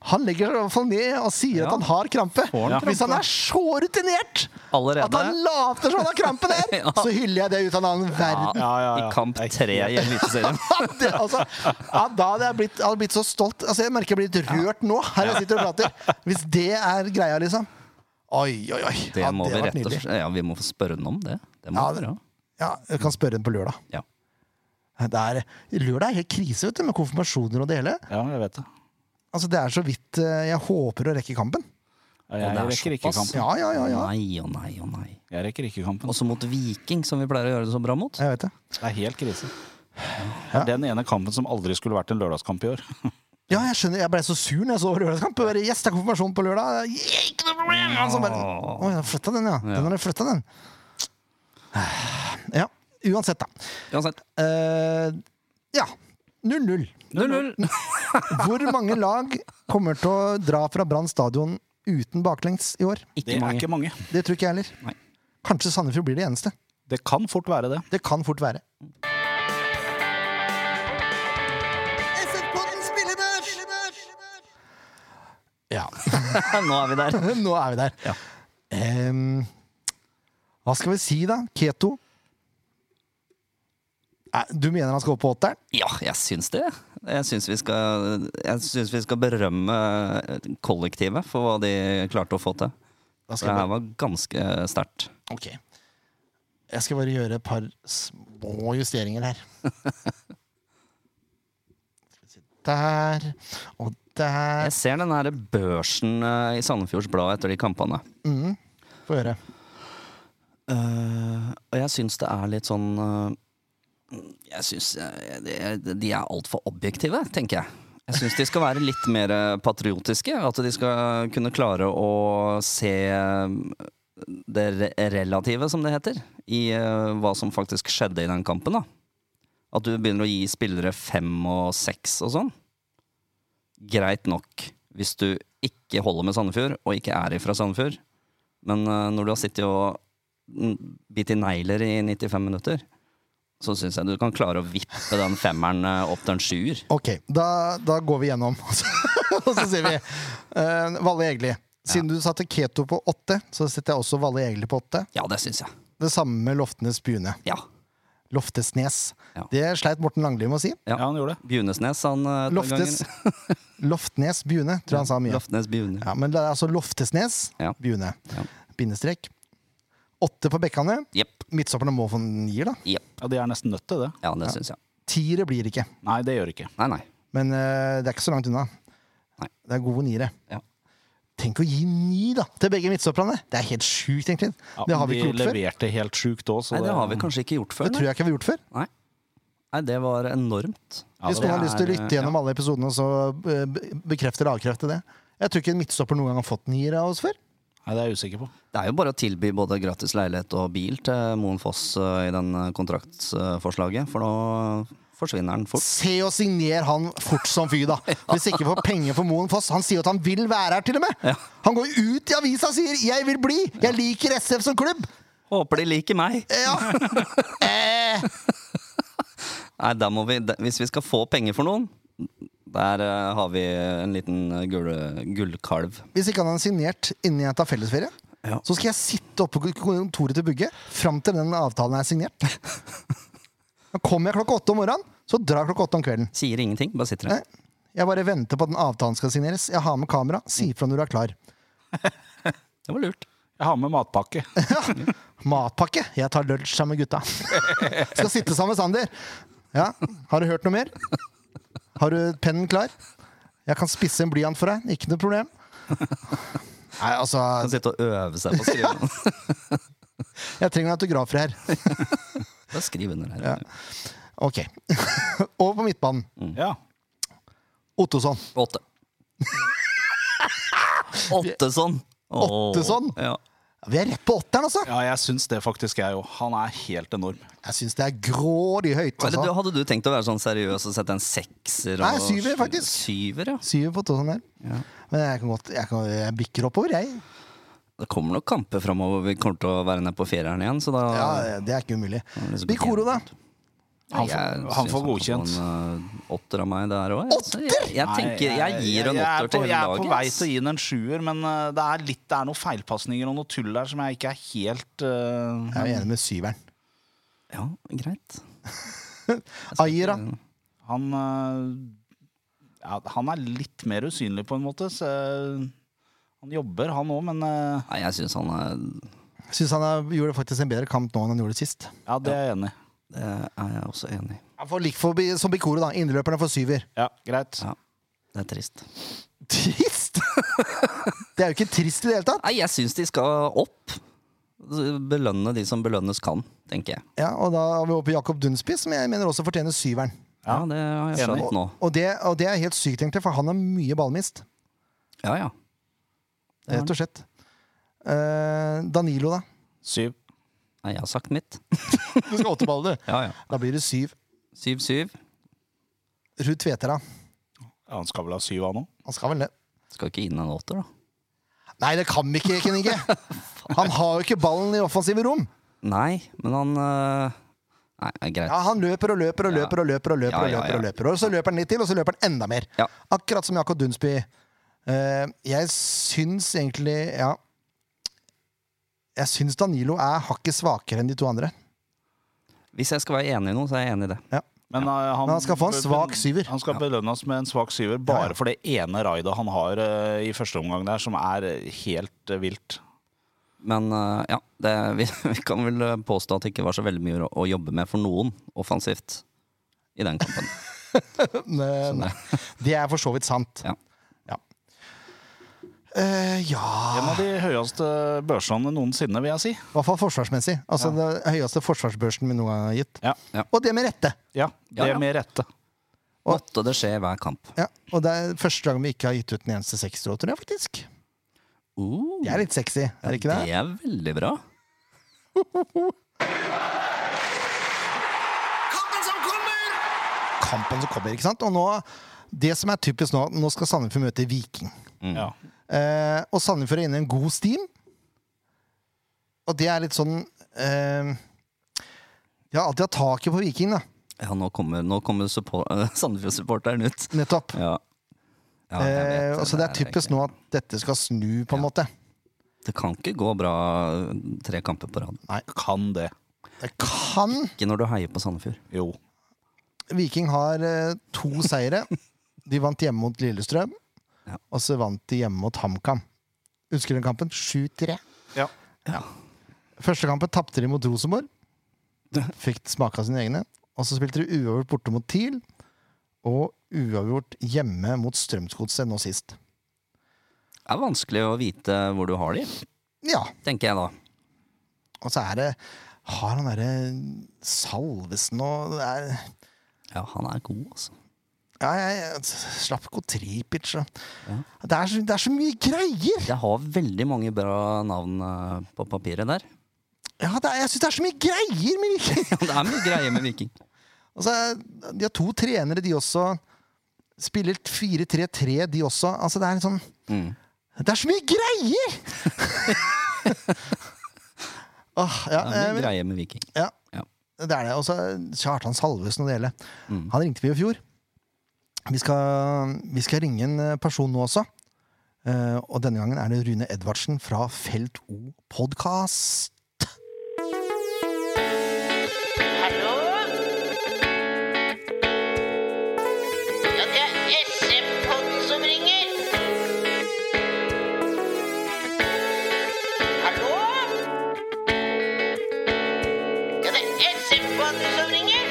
Speaker 1: han legger seg i hvert fall ned og sier
Speaker 2: Ja.
Speaker 1: at han har krampe.
Speaker 2: Får han
Speaker 1: Hvis han er så rutinert at han
Speaker 2: Allerede
Speaker 1: later som han har krampe der,
Speaker 2: [LAUGHS] Ja.
Speaker 1: så hyller jeg det ut av en annen verden. [LAUGHS]
Speaker 3: Ja, ja, ja.
Speaker 2: i kamp
Speaker 3: Det er
Speaker 2: tre i Eliteserien.
Speaker 1: det, altså, ja, da hadde jeg, blitt, jeg hadde blitt så stolt. Altså, jeg merker jeg blir litt rørt nå, her jeg sitter og prater. Hvis det er greia, liksom. Oi, oi, oi.
Speaker 2: Det
Speaker 1: Ja,
Speaker 2: må vi
Speaker 1: var
Speaker 2: rett og
Speaker 1: nydelig.
Speaker 2: slett Ja, vi må få spørre den om det. Det må
Speaker 1: Ja,
Speaker 2: vi
Speaker 1: det-
Speaker 2: gjøre.
Speaker 1: Ja, jeg kan spørre en på lørdag.
Speaker 2: Ja.
Speaker 1: Det er, lørdag er helt krise vet du, med konfirmasjoner og det hele.
Speaker 3: Ja, jeg vet det.
Speaker 1: Altså, det er så vidt eh, jeg håper å rekke kampen.
Speaker 2: Og
Speaker 3: Ja,
Speaker 2: det
Speaker 3: Jeg
Speaker 2: er
Speaker 3: rekker ikke
Speaker 2: såpass.
Speaker 3: kampen.
Speaker 1: Ja, ja, ja. ja.
Speaker 2: Nei og nei og nei.
Speaker 3: Jeg rekker ikke kampen.
Speaker 2: Også mot Viking, som vi pleier å gjøre det så bra mot.
Speaker 1: Jeg vet det.
Speaker 3: Det er helt krise. Det er den ene kampen som aldri skulle vært en lørdagskamp i år.
Speaker 1: Ja, jeg skjønner. Jeg ble så sur når jeg så lørdagskamp. Jeg bare, Yes, det er konfirmasjon på lørdag! Ikke noe problem! Og så bare, Å, jeg har flytta den, ja. Den har jeg flyttet, den. Ja. Uansett, da.
Speaker 2: Uansett.
Speaker 1: Eh, ja. [LAUGHS] 0-0.
Speaker 2: 0-0.
Speaker 1: Hvor mange lag kommer til å dra fra Brann stadion uten baklengs i år?
Speaker 2: Ikke
Speaker 3: [LAUGHS] Det er
Speaker 2: mange.
Speaker 3: ikke mange.
Speaker 1: [LAUGHS] Det tror ikke jeg heller.
Speaker 2: Nei.
Speaker 1: Kanskje Sandefjord blir det eneste.
Speaker 3: Det kan fort være det.
Speaker 1: Det kan fort være. Ja. [LAUGHS]
Speaker 2: [LAUGHS] Nå er vi der.
Speaker 1: Nå er vi der.
Speaker 2: Ja.
Speaker 1: Em, hva skal vi si, da? Keto? Nei, Du mener han skal opp på åtteren?
Speaker 2: Ja, jeg syns det. Jeg syns vi skal, jeg syns vi skal berømme eh, kollektivet for hva de klarte å få til.
Speaker 1: Da
Speaker 2: Det
Speaker 1: skal jeg
Speaker 2: her var ganske sterkt.
Speaker 1: bare- Ok. Jeg skal bare gjøre et par små justeringer
Speaker 2: [LAUGHS]
Speaker 1: her. Skal vi se. Der og der.
Speaker 2: Jeg ser den her børsen eh, i Sandefjords Blad etter de kampene.
Speaker 1: Mm. Få høre.
Speaker 2: Eh, og jeg syns det er litt sånn eh, Jeg syns eh, de- de er altfor objektive, tenker jeg. Jeg syns de skal være litt mer eh, patriotiske. At de skal kunne klare å se eh, det re- relative, som det heter, i eh, hva som faktisk skjedde i den kampen. da. At du begynner å gi spillere fem og seks og sånn. Greit nok hvis du ikke holder med Sandefjord, og ikke er ifra Sandefjord. Men eh, når du har sittet og n- bit i negler i 95 minutter, så syns jeg du kan klare å vippe den femmeren eh, opp til en sjuer.
Speaker 1: Ok, da, da går vi gjennom, [LAUGHS] og så sier vi eh, Valle Egli. Siden du satte Keto på åtte, så setter jeg også Valle Egli på åtte.
Speaker 2: Ja, det syns jeg.
Speaker 1: Det samme med Loftenes Bune.
Speaker 2: Ja.
Speaker 1: Loftesnes.
Speaker 2: Ja.
Speaker 1: Det sleit Morten Langli med å si.
Speaker 2: Ja.
Speaker 3: Ja, han gjorde det.
Speaker 2: Bjunesnes, han eh, den
Speaker 1: Loftes,
Speaker 2: gangen.
Speaker 1: Loftnes Bune, tror jeg han sa [LAUGHS] mye.
Speaker 2: Loftnes Bjune.
Speaker 1: Ja, men det er altså Loftesnes
Speaker 2: Ja.
Speaker 1: Bune.
Speaker 2: Ja.
Speaker 1: Bindestrek. Åtte på Bekkane.
Speaker 2: Jepp.
Speaker 1: Midtstopperne må få nier, da.
Speaker 2: Jepp.
Speaker 3: Ja, De er nesten nødt til det.
Speaker 2: Ja, det syns jeg.
Speaker 1: Tiere blir det ikke,
Speaker 3: Nei, det gjør ikke.
Speaker 2: Nei, nei.
Speaker 1: men eh, det er ikke så langt unna.
Speaker 2: Nei.
Speaker 1: Det er gode niere.
Speaker 2: Ja.
Speaker 1: Tenk å gi ni da, til begge midtstopperne! Det er helt sjukt, egentlig.
Speaker 3: Ja,
Speaker 1: det har vi
Speaker 3: de
Speaker 1: ikke gjort før.
Speaker 3: leverte helt sjukt òg, så
Speaker 2: nei. Det har vi kanskje ikke gjort
Speaker 1: Det
Speaker 2: før.
Speaker 1: tror
Speaker 2: Nei,
Speaker 1: jeg ikke vi har gjort før.
Speaker 2: nei. nei det var enormt.
Speaker 3: Ja,
Speaker 1: Hvis
Speaker 3: det
Speaker 1: noen har
Speaker 2: er-
Speaker 1: lyst til å lytte gjennom alle episodene og så eh, be- bekrefte eller avkrefte det. Jeg tror ikke en midtstopper noen gang har fått nier av oss før.
Speaker 3: Nei, det er jeg usikker på.
Speaker 2: Det er jo bare å tilby både gratis leilighet og bil til Moen Foss eh, i den eh, kontraktsforslaget, for nå forsvinner den fort.
Speaker 1: Se og signer han fort som fy,
Speaker 3: [LAUGHS]
Speaker 1: da. Hvis ikke får penger for Moen Foss. Han sier jo at han vil være her, til og med. Han går ut i avisa og sier 'jeg vil bli', 'jeg liker SF som klubb'.
Speaker 2: Håper de liker meg!
Speaker 1: Ja. eh,
Speaker 2: Nei, da må vi, da, hvis vi skal få penger for noen, der eh, har vi en liten eh, gull, gullkalv.
Speaker 1: hvis ikke han hadde signert innen jeg tar fellesferie,
Speaker 2: Ja.
Speaker 1: så skal jeg sitte oppe på kontoret til Bugge fram til den avtalen er signert. Da kommer jeg klokka åtte om morgenen, så drar jeg klokka åtte om kvelden.
Speaker 2: Sier ingenting, bare sitter
Speaker 1: Nei.
Speaker 2: der.
Speaker 1: Jeg bare venter på at den avtalen skal signeres. Jeg har med kamera. Si ifra når du er klar.
Speaker 2: Det var lurt.
Speaker 3: Jeg har med matpakke.
Speaker 1: Matpakke. Jeg tar lunsj sammen med gutta. Skal sitte sammen med Sander. Ja, Har du hørt noe mer? Har du pennen klar? Jeg kan spisse en blyant for deg. Ikke noe problem. Nei, altså
Speaker 2: Kan sitte og øve seg på å skrive.
Speaker 1: Jeg trenger en autograf fra her.
Speaker 2: [LAUGHS] Bare skriv under her.
Speaker 1: Ja. Ok. [LAUGHS] Over på midtbanen.
Speaker 3: Ja.
Speaker 1: Ottosson.
Speaker 2: Åtte. Åtte sånn.
Speaker 1: Åtte sånn?
Speaker 2: Ja.
Speaker 1: Vi er rett på åtteren, altså!
Speaker 3: ja, jeg syns det faktisk jeg òg. Han er helt enorm.
Speaker 1: Jeg syns det er grådig høyt.
Speaker 2: Eller, du,
Speaker 1: Altså.
Speaker 2: hadde du tenkt å være sånn seriøs og sette en sekser?
Speaker 1: Nei,
Speaker 2: og-
Speaker 1: syver, faktisk.
Speaker 2: Syver, ja.
Speaker 1: Syv på Ottosson der. Men jeg kan godt Jeg, kan, jeg bikker oppover, jeg.
Speaker 2: Det kommer nok kamper framover. Vi kommer til å være nede på fireren igjen, så da
Speaker 1: Ja, Det er ikke umulig.
Speaker 2: da er det så
Speaker 1: Bikoro, da?
Speaker 3: liksom Han
Speaker 2: Jeg
Speaker 3: får-
Speaker 2: syns
Speaker 3: han får godkjent.
Speaker 2: får en, eh, åtter av meg der òg. Jeg, jeg, jeg tenker jeg gir en
Speaker 3: jeg er
Speaker 2: åtter til
Speaker 3: på-
Speaker 2: hele laget.
Speaker 3: Jeg er på vei
Speaker 2: ass.
Speaker 3: til å gi den en sjuer, men eh, det er, litt, det er noen feilpasninger og noe tull der som jeg ikke er helt eh,
Speaker 1: Jeg er enig med syveren.
Speaker 2: Ja, greit.
Speaker 1: [LAUGHS] Aira.
Speaker 3: Han eh, ja, Han er litt mer usynlig, på en måte. Så eh, han jobber, han òg, men eh,
Speaker 2: Nei, jeg syns han er
Speaker 1: Syns han er, gjorde faktisk en bedre kamp nå enn han gjorde sist.
Speaker 3: ja, det er jeg enig i.
Speaker 2: Det er jeg også enig i.
Speaker 1: Han får lik forbi, som Bikoro, da. Indreløperne får syver. [LAUGHS]
Speaker 3: Ja, greit.
Speaker 2: Ja. Det er trist.
Speaker 1: Trist! Det er jo ikke trist i det hele tatt.
Speaker 2: Nei, jeg syns de skal opp. Belønne de som belønnes kan, tenker jeg.
Speaker 1: Ja, og da er vi oppe på Jakob Dunsby, som jeg mener også fortjener syveren.
Speaker 2: Ja, det har jeg
Speaker 3: Enig.
Speaker 2: skjønt nå.
Speaker 1: Og det, og det er helt sykt, egentlig, for han har mye ballmist.
Speaker 2: Ja, ja. Det har
Speaker 1: Rett og slett. Eh, Danilo, da.
Speaker 3: Syv.
Speaker 2: Nei, jeg har sagt mitt.
Speaker 1: Du skal åtte baller, du.
Speaker 2: Ja, ja.
Speaker 1: Da blir det syv.
Speaker 2: Syv, syv.
Speaker 1: Ruud Tvetera.
Speaker 3: Ja, han skal vel ha syv, han òg?
Speaker 1: Han skal vel det.
Speaker 2: Skal ikke inn en åtter, da.
Speaker 1: Nei, det kan vi ikke, [LAUGHS] Kenninge! Han har jo ikke ballen i offensive rom.
Speaker 2: Nei, men han øh, Nei, det er greit.
Speaker 1: Ja, Han løper og løper og løper og løper, og løper, og
Speaker 2: Ja, ja,
Speaker 1: løper, og
Speaker 2: ja.
Speaker 1: løper. Og så løper han litt til, og så løper han enda mer.
Speaker 2: Ja.
Speaker 1: Akkurat som Jakob Dunsby. Eh, jeg syns egentlig Ja. Jeg syns Danilo er hakket svakere enn de to andre.
Speaker 2: Hvis jeg skal være enig i noe, så er jeg enig i det.
Speaker 1: Ja.
Speaker 3: Men, eh,
Speaker 1: Men han skal få en svak syver.
Speaker 3: Han skal belønnes med en svak syver bare for det ene raidet han har eh, i første omgang der, som er eh, helt eh, vilt.
Speaker 2: Men øh, ja, det, [LAUGHS] vi, vi kan vel øh, påstå at det ikke var så veldig mye å, å jobbe med for noen offensivt i den kampen.
Speaker 1: Men, Eh, det er for så vidt sant.
Speaker 2: [LAUGHS] Ja.
Speaker 1: Sånn, Ja. Eh, ja
Speaker 3: En av de høyeste børsene noensinne, vil jeg si.
Speaker 1: I hvert fall forsvarsmessig. Altså Den høyeste forsvarsbørsen vi noen gang har gitt.
Speaker 3: Ja,
Speaker 1: Og det med rette!
Speaker 3: ja
Speaker 2: Ja,
Speaker 3: det
Speaker 2: ja.
Speaker 3: med rette.
Speaker 2: Måtte det skje i hver kamp.
Speaker 1: Ja. Og det er første gang vi ikke har gitt ut en eneste sekser, tror jeg faktisk.
Speaker 2: Uh,
Speaker 1: Det er litt sexy, er det ikke det?
Speaker 2: det er veldig bra.
Speaker 4: Kampen som kommer!
Speaker 1: kampen som kommer. ikke sant? Og nå, det som er typisk nå, nå skal Sandefjord møte Viking.
Speaker 3: Ja.
Speaker 1: Eh, og Sandefjord er inne i en god steam. Og det er litt sånn eh, De har alltid hatt taket på Viking, da.
Speaker 2: Ja, nå kommer, nå kommer support- [LAUGHS] Sandefjord-supporteren ut.
Speaker 1: Nettopp.
Speaker 2: Ja. Ja, jeg
Speaker 1: Eh,
Speaker 2: vet
Speaker 1: og så det er typisk nå
Speaker 2: ikke-
Speaker 1: at dette skal snu, på en
Speaker 2: Ja.
Speaker 1: måte.
Speaker 2: Det kan ikke gå bra eh, tre kamper på rad.
Speaker 3: Kan det.
Speaker 1: Det kan
Speaker 2: Ikke når du heier på Sandefjord.
Speaker 3: Jo.
Speaker 1: Viking har eh, to
Speaker 2: [LAUGHS]
Speaker 1: seire. De vant hjemme mot Lillestrøm,
Speaker 2: Ja.
Speaker 1: og så vant de hjemme mot HamKam. Husker du den kampen? 7-3.
Speaker 3: Ja.
Speaker 1: Første kampen tapte de mot
Speaker 2: [LAUGHS]
Speaker 1: Rosenborg. Fikk smake av sine egne. Og så spilte de uavgjort borte mot TIL, og uavgjort hjemme mot Strømsgodset nå sist.
Speaker 2: Det er vanskelig å vite hvor du har de,
Speaker 1: Ja,
Speaker 2: tenker jeg da.
Speaker 1: og så er det Har han derre Salvesen og det er,
Speaker 2: Ja, han er god, altså.
Speaker 1: Ja, jeg, jeg slapp gå tripic og
Speaker 2: Ja.
Speaker 1: det, er så, det er så mye greier!
Speaker 2: Jeg har veldig mange bra navn eh, på papiret der. [LAUGHS]
Speaker 1: Ja, det er, jeg syns det er så mye greier med [LAUGHS] Viking!
Speaker 2: Ja, det er mye greier med Viking.
Speaker 1: Og så er- de har to trenere, de også. Spiller 4-3-3, de også. Altså, det er litt sånn
Speaker 2: Mm.
Speaker 1: Det er så mye
Speaker 2: [LAUGHS]
Speaker 1: greier! Åh, ja,
Speaker 2: Det er
Speaker 1: eh,
Speaker 2: mye greier med Viking.
Speaker 1: ja,
Speaker 2: Ja.
Speaker 1: det er det. Og så Kjartan Salvesen og det hele.
Speaker 2: Mm.
Speaker 1: Han ringte vi i fjor. Vi skal, vi skal ringe en eh, person nå også. Eh, og denne gangen er det Rune Edvardsen fra Felt O podkast.
Speaker 5: Hallo? Ja, det er SM-podden som ringer. Hallo? Ja, det er SM-podden som ringer.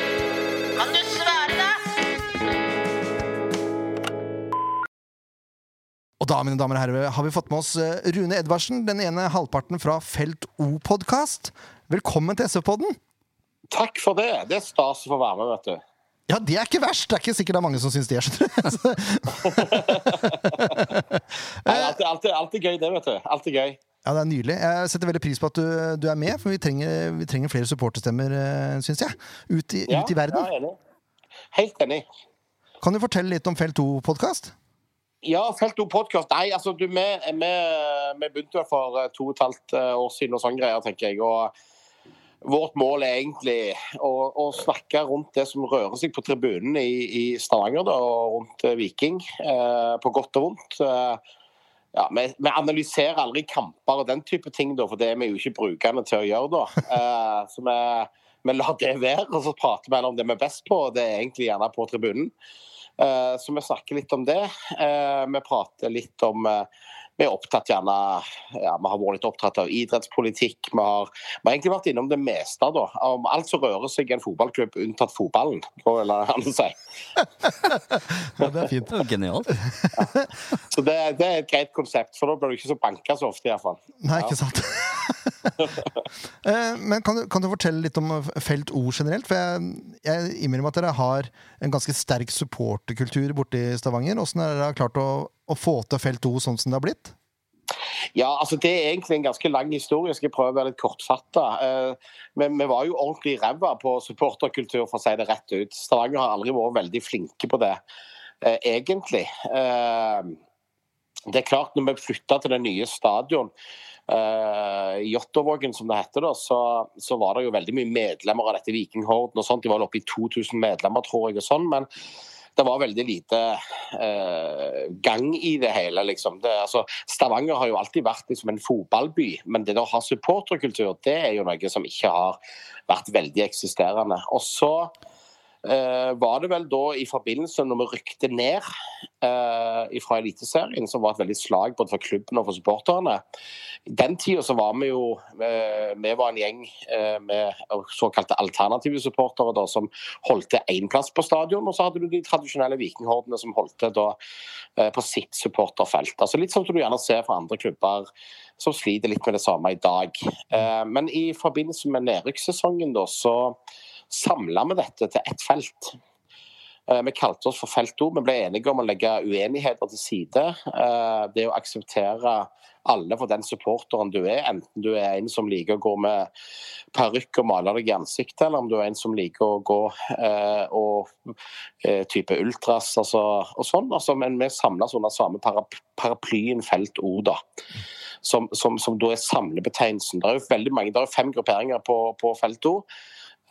Speaker 5: Kan du svare, da?
Speaker 1: Og da mine damer og herrer, har vi fått med oss eh, Rune Edvardsen, den ene halvparten fra Felt O podkast. Velkommen til SV-podden!
Speaker 6: takk for det. Det er stas å få være med, vet du.
Speaker 1: Ja, det er ikke verst! Det er ikke sikkert det er mange som syns det. skjønner du. [LAUGHS]
Speaker 6: Nei, alt, er- alt, er- alt er gøy, det, vet du. Alt er gøy.
Speaker 1: Ja, det er nydelig. Jeg setter veldig pris på at du, du er med, for vi trenger, vi trenger flere supporterstemmer, syns jeg. Ut i,
Speaker 6: Ja,
Speaker 1: ut i verden.
Speaker 6: ja, jeg er enig. Helt enig.
Speaker 1: Kan du fortelle litt om Felt 2-podkast?
Speaker 6: Ja, Felt O podkast. Nei, altså, du, vi, vi, vi begynte jo for eh, to og et halvt eh, år siden og sånn greier, tenker jeg. Og vårt mål er egentlig å, å snakke rundt det som rører seg på tribunen i, i Stavanger, da, og rundt eh, Viking. eh, på godt og vondt. Eh, ja, vi, vi analyserer aldri kamper og den type ting, da, for det er vi jo ikke brukende til å gjøre. da. Eh, så vi, vi lar det være, og så prater vi heller om det vi er best på, og det er egentlig gjerne på tribunen. Eh, Så vi snakker litt om det. Eh, Vi prater litt om eh, Vi er opptatt gjerne ja, Vi har vært litt opptatt av idrettspolitikk. Vi har, vi har egentlig vært innom det meste, da. Om alt som rører seg i en fotballklubb, unntatt fotballen, går det an å si.
Speaker 1: Ja, det er fint.
Speaker 2: Det er jo genialt.
Speaker 6: Så det, det er et greit konsept, for da blir du ikke så banka så ofte, iallfall.
Speaker 1: Nei, ikke sant? [LAUGHS] Eh, Men kan du, kan du fortelle litt om eh, Felt O generelt? For jeg, jeg innrømmer at dere har en ganske sterk supporterkultur borte i Stavanger. Åssen har dere klart å, å få til Felt O sånn som det har blitt?
Speaker 6: Ja, altså Det er egentlig en ganske lang historie. Jeg skal prøve å være litt kortfatta. Eh, Men vi var jo ordentlig ræva på supporterkultur, for å si det rett ut. Stavanger har aldri vært veldig flinke på det, eh, egentlig. Eh, Det er klart, når vi flytta til det nye stadion, eh, i Jåttåvågen som det heter, da, så, så var det jo veldig mye medlemmer av dette Vikinghorden og sånt. De var vel oppe i 2000 medlemmer, tror jeg, og sånn. men det var veldig lite eh, gang i det hele, liksom. Det, altså, Stavanger har jo alltid vært liksom, en fotballby, men det å ha supporterkultur, det er jo noe som ikke har vært veldig eksisterende. Og så eh, var det vel da i forbindelse når vi rykte ned eh, fra Eliteserien, som var et veldig slag både for klubben og for supporterne. I den tida så var vi jo eh, Vi var en gjeng eh, med såkalte alternative supportere da, som holdt til én plass på stadion, og så hadde du de tradisjonelle vikinghordene som holdt til da, eh, på sitt supporterfelt. Altså Litt som du gjerne ser fra andre klubber som sliter litt med det samme i dag. Eh, Men i forbindelse med nedrykkssesongen da, så samla vi dette til ett felt. Eh, Vi kalte oss for Felt O. Vi ble enige om å legge uenigheter til side. Eh, Det å akseptere alle for den supporteren du er, enten du er en som liker å gå med parykk og male deg i ansiktet, eller om du er en som liker å gå eh, og eh, type ultras altså, og sånn. Altså, men vi samles under samme para- paraplyen felt O, da. Som, som, som da er samlebetegnelsen. Det er jo veldig mange, det er jo fem grupperinger på, på felt O.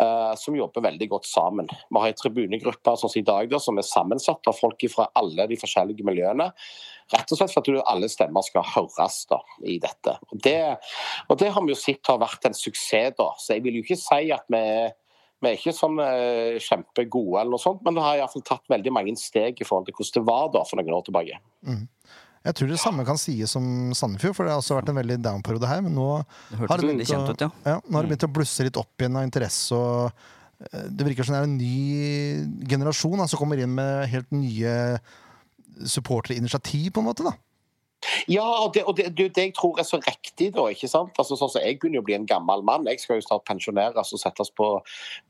Speaker 6: eh, som jobber veldig godt sammen. Vi har en tribunegruppe sånn som i dag da, som er sammensatt av folk fra alle de forskjellige miljøene. Rett og slett for at du- alle stemmer skal høres da, i dette. Og det, og det har vi jo sett har vært en suksess, da. Så jeg vil jo ikke si at vi er vi er ikke sånn eh, kjempegode, eller noe sånt, men det har iallfall tatt veldig mange steg i forhold til hvordan det var da for noen år tilbake.
Speaker 1: Jeg tror det samme kan sies om Sandefjord, for det har også vært en veldig down-periode her. Men nå
Speaker 2: hørtes
Speaker 1: har det
Speaker 2: veldig
Speaker 1: begynt å-
Speaker 2: kjent ut, ja.
Speaker 1: nå har det begynt å blusse litt opp igjen av interesse. og eh, Det virker som det er en ny generasjon da, som kommer inn med helt nye supporterinitiativ, på en måte. da.
Speaker 6: Ja, og det, og det, det, det jeg tror er så riktig, da. ikke sant? Altså, sånn som Jeg begynner jo å bli en gammel mann. Jeg skal jo snart pensjoneres og settes på,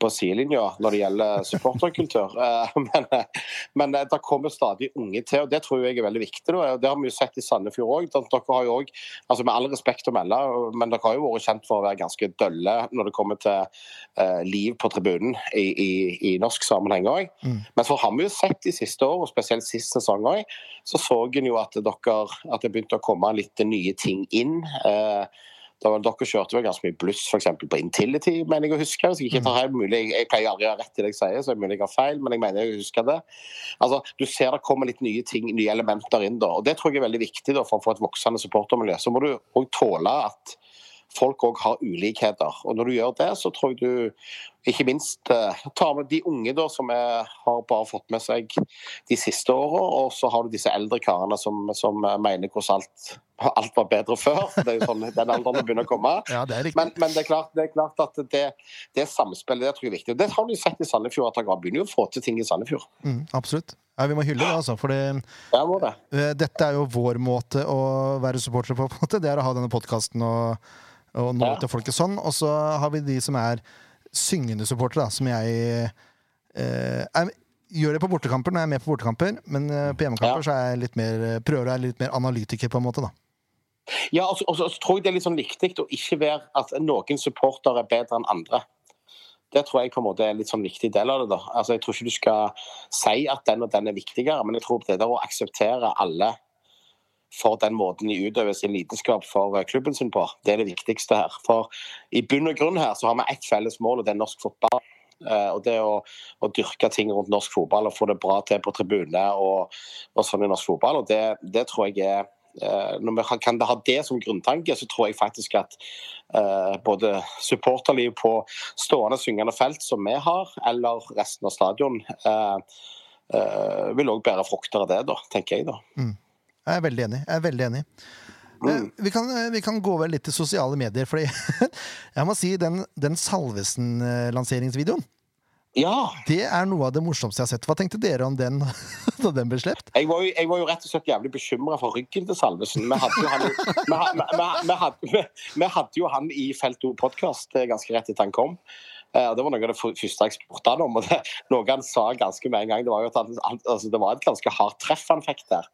Speaker 6: på sidelinja når det gjelder supporterkultur. [LAUGHS] Eh, men, eh, men eh, det kommer stadig unge til, og det tror jeg er veldig viktig. Da. Det har vi jo sett i Sandefjord òg. Dere har jo også, altså med all respekt å melde, men dere har jo vært kjent for å være ganske dølle når det kommer til eh, liv på tribunen i, i, i norsk sammenheng òg. Men så har vi jo sett de siste år, og spesielt sist sesong òg, så så en jo at, dere, at det begynte å komme litt nye ting inn. Eh, da var, dere kjørte vel ganske mye bluss for eksempel, på Intility, mener jeg å huske. Hvis jeg, ikke tar helt mulig, jeg pleier aldri å ha rett i det jeg sier, så er det mulig jeg har feil, men jeg mener jeg husker det. Altså, Du ser det kommer litt nye ting, nye elementer inn. da, og Det tror jeg er veldig viktig da, for å få et voksende supportermiljø. Så må du òg tåle at folk òg har ulikheter. Og når du gjør det, så tror jeg du ikke minst eh, tar med de unge da, som er, har bare fått med seg de siste åra, og så har du disse eldre karene som, som eh, mener hvordan alt, alt var bedre før. for Det er jo sånn den alderen begynner å komme.
Speaker 1: Ja, det er riktig.
Speaker 6: Men, men det, er klart, det er klart at det, det samspillet det tror jeg er viktig. Og Det har du sett i Sandefjord, at han begynner jo å få til ting i Sandefjord.
Speaker 1: Mm, absolutt. Ja, vi må hylle det, altså. For
Speaker 6: Der må det.
Speaker 1: dette er jo vår måte å være supportere på. på en måte. Det er å ha denne podkasten og, og nå
Speaker 6: Ja.
Speaker 1: til folket sånn. Og så har vi de som er syngende supportere, da, som jeg eh, er, gjør det på bortekamper når jeg er med på bortekamper, men eh, på hjemmekamper
Speaker 6: Ja.
Speaker 1: så er jeg litt mer, eh, prøver jeg å være litt mer analytiker, på en måte. da.
Speaker 6: Ja, og så, og så- og så tror jeg det er litt sånn viktig å ikke være at noen supportere er bedre enn andre. Det tror jeg på en måte er en litt sånn viktig del av det. da. Altså, Jeg tror ikke du skal si at den og den er viktigere, men jeg tror det der å akseptere alle for den måten de utøver sin lidenskap for eh, klubben sin på, det er det viktigste her. For i bunn og grunn her så har vi ett felles mål, og det er norsk fotball. Eh, Og det å, å dyrke ting rundt norsk fotball og få det bra til på tribune og, og sånn i norsk fotball, og det, det tror jeg er Eh, når vi har- kan ha det som grunntanke, så tror jeg faktisk at eh, både supporterliv på stående syngende felt, som vi har, eller resten av stadion, eh, eh, vil òg bære frukter av det, da, tenker jeg. da.
Speaker 1: Jeg er veldig enig. jeg er veldig enig. Eh,
Speaker 6: Mm.
Speaker 1: Vi kan, eh, vi kan gå over litt til sosiale medier, fordi [LAUGHS] jeg må si den, den eh, Salvesen-lanseringsvideoen,
Speaker 6: Ja!
Speaker 1: det er noe av det morsomste jeg har sett. Hva tenkte dere om den [LAUGHS] da den ble sluppet?
Speaker 6: Jeg var, jo, jeg var jo rett og slett jævlig bekymra for ryggen til Salvesen. Vi hadde jo han, vi, ha- vi, vi, vi hadde, vi, vi hadde jo han i Felt O-podkast ganske rett etter han kom. Eh, og Det var noe av det fu- første jeg spurte han om. og det, Noe han sa ganske med en gang, det var jo at han, han, altså, det var et ganske hardt treff han fikk der.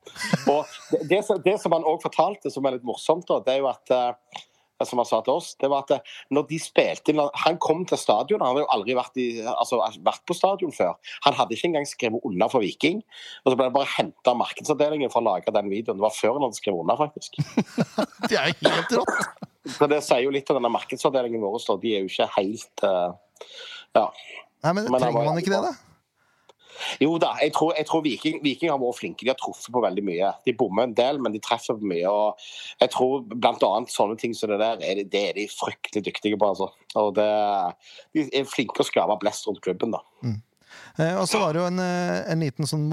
Speaker 6: Og Det, det, som- det som han òg fortalte, som er litt morsomt, da, det er jo at eh, som han sa til oss, det var at eh, når de spilte inn Han kom til stadion, han hadde jo aldri vært, i, altså, vært på stadion før. Han hadde ikke engang skrevet under for Viking. Og så ble det bare henta markedsavdelingen for å lage den videoen. Det var før han hadde skrevet under, faktisk.
Speaker 1: [LAUGHS] Det er jo helt rått!
Speaker 6: Så det sier jo litt om denne markedsavdelingen vår. Så de er jo ikke helt eh, Ja.
Speaker 1: Nei, men
Speaker 6: Men han
Speaker 1: Trenger
Speaker 6: var-
Speaker 1: man ikke det, da?
Speaker 6: Jo da, jeg tror, jeg tror Viking, Viking har vært flinke. De har truffet på veldig mye. De bommer en del, men de treffer på mye. Og jeg tror blant annet sånne ting som det der, er de, det er de fryktelig dyktige på, altså. Og det, de er flinke å skape blest rundt klubben, da.
Speaker 1: Eh, Og så var det jo en, eh, en liten sånn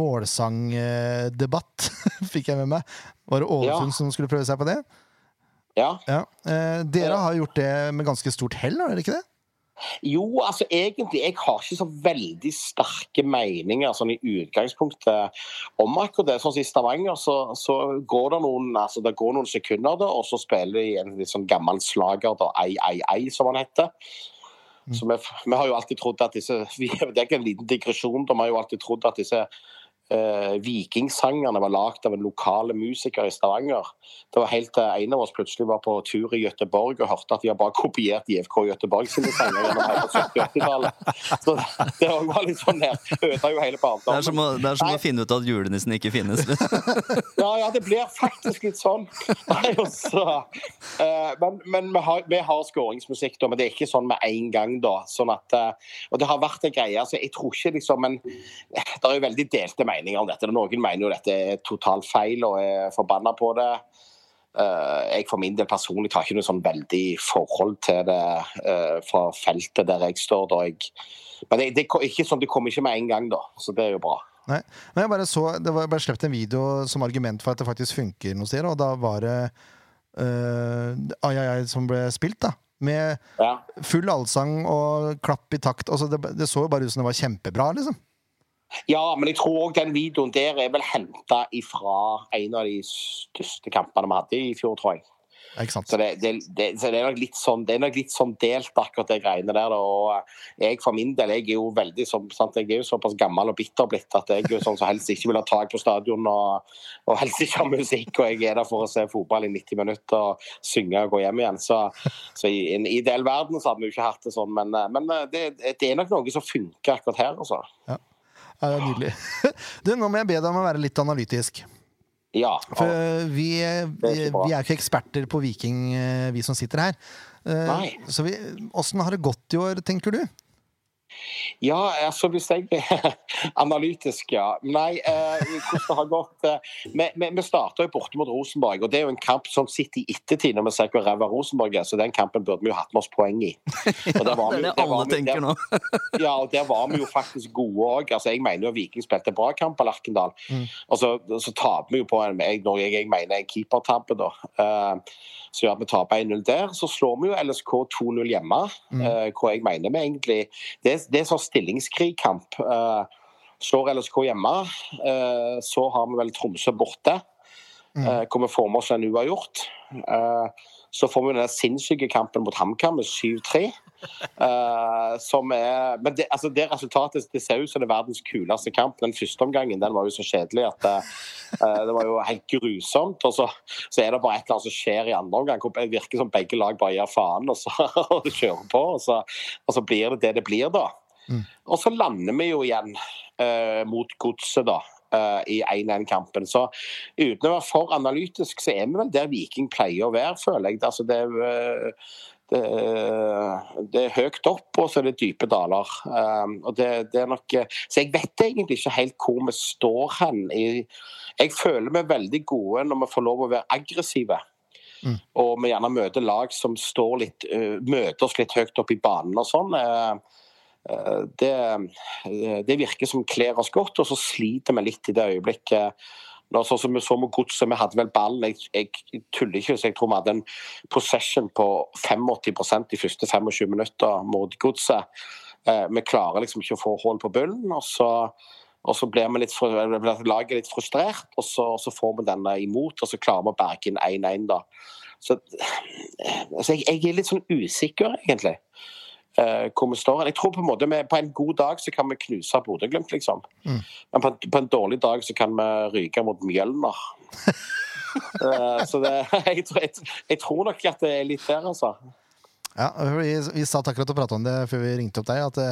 Speaker 1: målsangdebatt, [LAUGHS] fikk jeg med meg. Var det Ålesund
Speaker 6: Ja.
Speaker 1: som skulle prøve seg på det?
Speaker 6: Ja.
Speaker 1: Ja. Eh, Dere
Speaker 6: Ja.
Speaker 1: har gjort det med ganske stort hell, har dere ikke det?
Speaker 6: Jo, altså egentlig, jeg har ikke så veldig sterke meninger sånn i utgangspunktet om akkurat det. Sånn som i Stavanger, så, så går det noen, altså, det går noen sekunder, da, og så spiller de en litt sånn gammel slager, da, Ei, ei, ei, som han heter.
Speaker 2: Mm.
Speaker 6: Så vi, vi har jo alltid trodd at disse [LAUGHS] vi, Det er ikke en liten digresjon, da, vi har jo alltid trodd at disse eh, vikingsangerne var lagd av en lokale musiker i Stavanger. Det var helt til en av oss plutselig var på tur i Gøteborg og hørte at de har bare kopiert IFK Gøteborg sine sanger gjennom hele 70-80-tallet. Så det- det var litt sånn her. Ødela jo hele
Speaker 2: Det er
Speaker 6: barndommen.
Speaker 2: som å, det er som
Speaker 6: Nei.
Speaker 2: å finne ut at julenissen ikke finnes.
Speaker 6: [LAUGHS] Ja, ja, det blir faktisk litt sånn. Nei, og så, eh, men men vi, har, vi har skåringsmusikk, da, men det er ikke sånn med en gang. da. Sånn at, eh, og Det har vært en greie. altså jeg tror ikke liksom, men Det er jo veldig delte meninger om dette. Noen mener jo dette er totalt feil og er forbanna på det. Eh, jeg for min del personlig tar ikke noe sånn veldig forhold til det eh, fra feltet der jeg står. da jeg men det, det, er ikke sånn, det kommer ikke med en gang, da, så det er jo bra.
Speaker 1: Nei. Men jeg bare så, det var- ble sluppet en video som argument for at det faktisk funker noe sted, og da var det eh, Ai Ai Ai som ble spilt, da. Med
Speaker 6: Ja.
Speaker 1: full allsang og klapp i takt. Altså, det, det så jo bare ut som det var kjempebra, liksom.
Speaker 6: Ja, men jeg tror òg den videoen der er vel henta ifra en av de største kampene vi hadde i fjor, tror jeg.
Speaker 1: Ja, Ikke sant?
Speaker 6: Så det, det, det, så det er nok litt sånn, det er nok litt sånn delt, akkurat de greiene der. Da. Og jeg for min del, jeg er jo veldig som, sant? Jeg er jo såpass gammel og bitter blitt at jeg er jo sånn som helst ikke vil ha tak på stadion og, og helst ikke ha musikk. Og jeg er der for å se fotball i 90 minutter og synge og gå hjem igjen. Så, så i en ideell verden så hadde vi jo ikke hatt det sånn, men, men det, det er nok noe som funker akkurat her, altså.
Speaker 1: Ja, det er nydelig. [LAUGHS] Du, nå må jeg be deg om å være litt analytisk.
Speaker 6: Ja.
Speaker 1: For øh, vi, vi,
Speaker 6: ikke bra.
Speaker 1: vi er jo ikke eksperter på Viking, øh, vi som sitter her. Eh,
Speaker 6: Nei.
Speaker 1: Så vi, åssen har det gått i år, tenker du?
Speaker 6: Ja, altså hvis jeg [LAUGHS] Analytisk, ja. Nei, eh, hvordan det har gått eh, Vi, vi, vi starta jo borte mot Rosenborg, og det er jo en kamp som sitter i ettertid når vi ser hvor ræva Rosenborg er, så den kampen burde vi jo hatt med oss poeng i. Og
Speaker 2: Det
Speaker 6: der var vi-
Speaker 2: er det
Speaker 6: der
Speaker 2: alle
Speaker 6: var vi- der-
Speaker 2: tenker nå.
Speaker 6: [LAUGHS] ja, og der var vi jo faktisk gode òg. Altså, jeg mener jo at Viking spilte bra kamp på Lerkendal. Og så, så taper vi jo på en jeg, når jeg, jeg mener en keepertabbe, da. Eh, så gjør at vi taper 1-0 der. Så slår vi jo LSK 2-0 hjemme, eh, hvor jeg mener vi egentlig Det, er- det er sånn stillingskrigkamp. Eh, slår LSK hjemme, eh, så har vi vel Tromsø borte. eh, hvor vi får med oss en uavgjort. Eh, så får vi den sinnssyke kampen mot HamKam med 7-3. eh, som er Men det, altså det resultatet det ser ut som det er verdens kuleste kamp. Den første omgangen den var jo så kjedelig at eh, eh, det var jo helt grusomt. Og så, så er det bare et eller annet som skjer i andre omgang. hvor Det virker som begge lag bare gir faen og så [LAUGHS] og det kjører på. Og så, og så blir det det det blir, da. Og så lander vi jo igjen eh, mot godset, da. eh, I 1-1-kampen. Så uten å være for analytisk, så er vi vel der Viking pleier å være, føler jeg. Altså, det, er, eh, det, er- det er høyt opp, og så er det dype daler. Eh, og det, det er nok, eh, så jeg vet egentlig ikke helt hvor vi står hen. I, jeg føler vi er veldig gode når vi får lov å være aggressive.
Speaker 1: Mm.
Speaker 6: Og vi gjerne møter lag som står litt, eh, møter oss litt høyt opp i banen og sånn. Eh, Eh, det, eh, det virker som kler oss godt, og så sliter vi litt i det øyeblikket. Nå, sånn som Vi så med godset, vi hadde vel ballen. Jeg, jeg tuller ikke, så jeg tror vi hadde en possession på 85 de første 25 minutter mot godset. Eh, vi klarer liksom ikke å få hull på bunnen, og så, og så blir vi litt, fru- eller blir laget litt frustrert. Og så, og så får vi denne imot, og så klarer vi å berge inn 1-1, da. Så, så jeg, jeg er litt sånn usikker, egentlig eh, hvor vi står. Jeg tror på en måte vi, på en god dag så kan vi knuse Bodø-Glimt, liksom.
Speaker 1: Mm.
Speaker 6: Men på en, på en dårlig dag så kan vi ryke mot Mjølner. Eh, så det, [LAUGHS] jeg, tror, jeg, jeg tror nok at det er litt der, altså.
Speaker 1: Ja, vi, vi satt akkurat og prata om det før vi ringte opp deg. At det,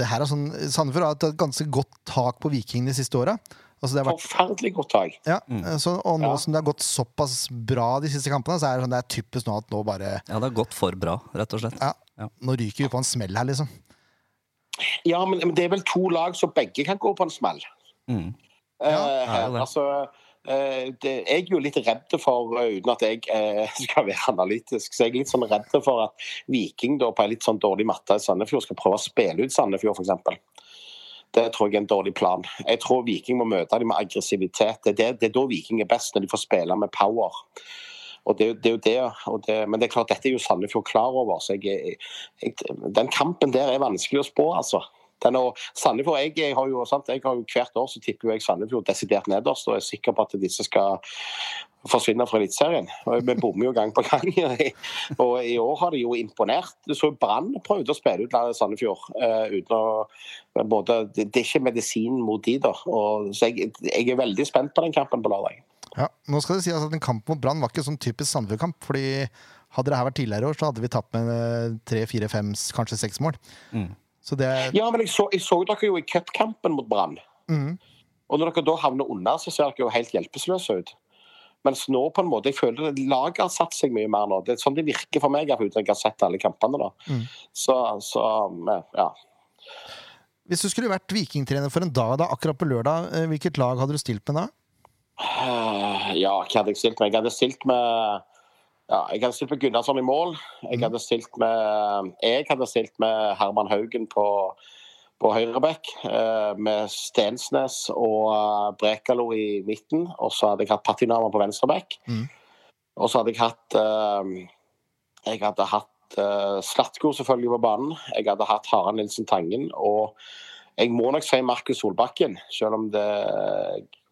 Speaker 1: det her er sånn, Sandefjord har hatt et ganske godt tak på Viking de siste åra. Altså det har vært
Speaker 6: Forferdelig godt tak.
Speaker 1: Ja, så, og nå
Speaker 6: Mm. Ja.
Speaker 1: som det har gått såpass bra de siste kampene, så er det, sånn, det er typisk nå at nå bare
Speaker 2: Ja, det har gått for bra, rett og slett.
Speaker 1: ja,
Speaker 2: Ja.
Speaker 1: Nå ryker vi på en smell her, liksom.
Speaker 6: Ja, men, men det er vel to lag som begge kan gå på en smell.
Speaker 2: Mm.
Speaker 6: Eh,
Speaker 2: ja, det.
Speaker 6: altså, eh, det, jeg er jo litt redd for, eh, uten at jeg eh, [LAUGHS] skal være analytisk, så jeg er litt sånn redd for at Viking da, på en litt sånn dårlig matte i Sandefjord skal prøve å spille ut Sandefjord, f.eks. Det tror jeg er en dårlig plan. Jeg tror Viking må møte dem med aggressivitet. Det er, det, det er da Viking er best, når de får spille med power. Og det, er jo- det er jo det, og det. Men det er klart, dette er jo Sandefjord klar over. så jeg, jeg, jeg, Den kampen der er vanskelig å spå, altså. Den er, Sandefjord, jeg, jeg, har jo, sant, jeg har jo Hvert år så tipper jo jeg Sandefjord desidert nederst og er sikker på at disse skal forsvinne fra Eliteserien. Og Vi bommer jo gang på gang. og I år har de jo imponert. Du så jo Brann prøvde å spille ut Sandefjord. eh, uten å, både, det, det er ikke medisin mot de, da. Og, så jeg, jeg er veldig spent på den kampen på lørdag.
Speaker 1: Ja, nå skal det sies at En kamp mot Brann var ikke sånn typisk Sandefjord-kamp. fordi Hadde det her vært tidligere år, så hadde vi tapt med eh, tre, fire, fem, s- kanskje seks mål.
Speaker 2: Mm.
Speaker 1: Så det er
Speaker 6: Ja, men jeg så, jeg så dere jo i cupkampen mot Brann.
Speaker 1: Mhm.
Speaker 6: Og når dere da havner under, så ser dere jo helt hjelpeløse ut. Mens nå, på en måte, jeg føler det- laget har satt seg mye mer nå. Det er sånn det virker for meg, uten at jeg har sett alle kampene. da.
Speaker 1: Mhm.
Speaker 6: Så, så, ja.
Speaker 1: Hvis du skulle vært vikingtrener for en dag da, akkurat på lørdag, eh, hvilket lag hadde du stilt med da?
Speaker 6: Ah, Ja, hva hadde jeg stilt med? Jeg hadde stilt med ja, jeg hadde stilt med Gunnarsson i mål. Jeg hadde stilt med, jeg hadde stilt med Herman Haugen på, på høyreback. eh, Med Stensnes og eh, Brekalo i midten. Og så hadde jeg hatt Patinama på venstreback.
Speaker 1: Mhm.
Speaker 6: Og så hadde jeg hatt eh, Jeg hadde hatt eh, Slatko selvfølgelig på banen. Jeg hadde hatt Harald Nilsen Tangen. Og jeg må nok si Markus Solbakken, selv om det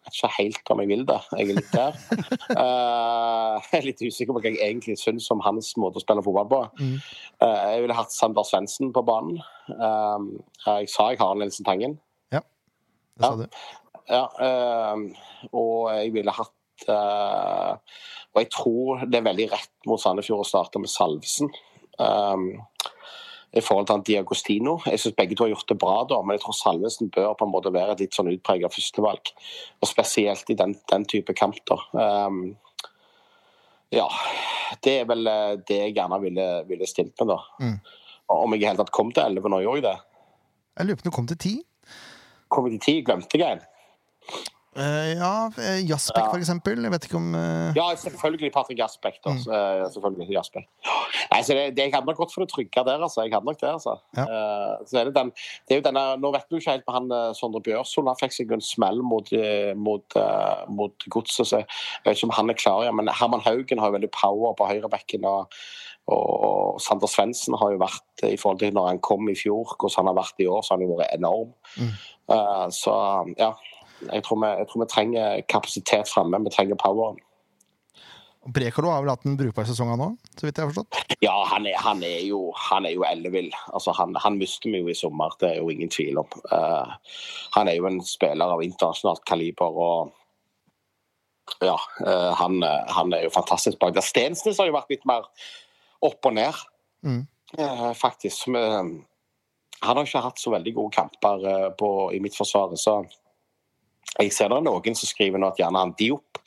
Speaker 6: jeg vet ikke helt om jeg vil det. Jeg er litt der. Eh, jeg er litt usikker på hva jeg egentlig syns om hans måte å spille fotball på.
Speaker 1: Mm.
Speaker 6: Eh, jeg ville hatt Sander Svendsen på banen. Eh, jeg sa jeg har Nilsen Tangen.
Speaker 1: Det
Speaker 6: Ja.
Speaker 1: sa du.
Speaker 6: Ja, ehm, og jeg ville hatt eh, Og jeg tror det er veldig rett mot Sandefjord å starte med Salvesen. ehm, I forhold til han Diagostino. Jeg syns begge to har gjort det bra, da, men jeg tror Salvesen bør på en måte være et litt sånn utprega førstevalg. Og spesielt i den, den type kamp, da. Ehm, ja. Det er vel eh, det jeg gjerne ville, ville stilt med, da.
Speaker 1: Mm.
Speaker 6: Om jeg i det hele tatt kom til 11 nå, gjorde jeg det.
Speaker 1: Jeg lurer på om du kom til ti?
Speaker 6: Kom jeg til 10, glemte jeg en.
Speaker 1: Eh, ja, eh, Jasbekk,
Speaker 6: Ja.
Speaker 1: for eksempel. Jeg vet ikke om eh, Mm.
Speaker 6: Ja, selvfølgelig Patrick Jasbekk. da. Så, eh, Selvfølgelig Jasbekk. Nei, så det, det, Jeg hadde nok gått for det trygge der, altså. Jeg hadde nok det, altså.
Speaker 1: Ja.
Speaker 6: Eh, så er det den, det er jo denne, Nå vet du ikke helt med han eh, Sondre Bjørsson. Han fikk seg jo en smell mot, eh, mot, eh, mot godset, så jeg vet ikke om han er klar igjen. Men Herman Haugen har jo veldig power på høyrebekken. og og Sander Svendsen har jo vært eh, i forhold til når han kom i fjor, hvordan han har vært i år, så har han jo vært enorm.
Speaker 1: Mm.
Speaker 6: Eh, så ja, jeg tror, vi, jeg tror vi trenger kapasitet framme. Vi trenger poweren.
Speaker 1: Brekalo har vel hatt en brukbar sesong han òg, så vidt jeg har forstått.
Speaker 6: Ja, han er, han er jo, han er jo ellevill. Altså, han, han mister vi jo i sommer, det er jo ingen tvil om. Eh, han er jo en spiller av internasjonalt kaliber. og ja, eh, han, eh, han er jo fantastisk bak der. Stensnes har jo vært litt mer opp og ned,
Speaker 1: Mm.
Speaker 6: eh, faktisk. Men, eh, han har ikke hatt så veldig gode kamper eh, på, i midtforsvaret, så jeg ser det er noen som skriver nå at gjerne han Diop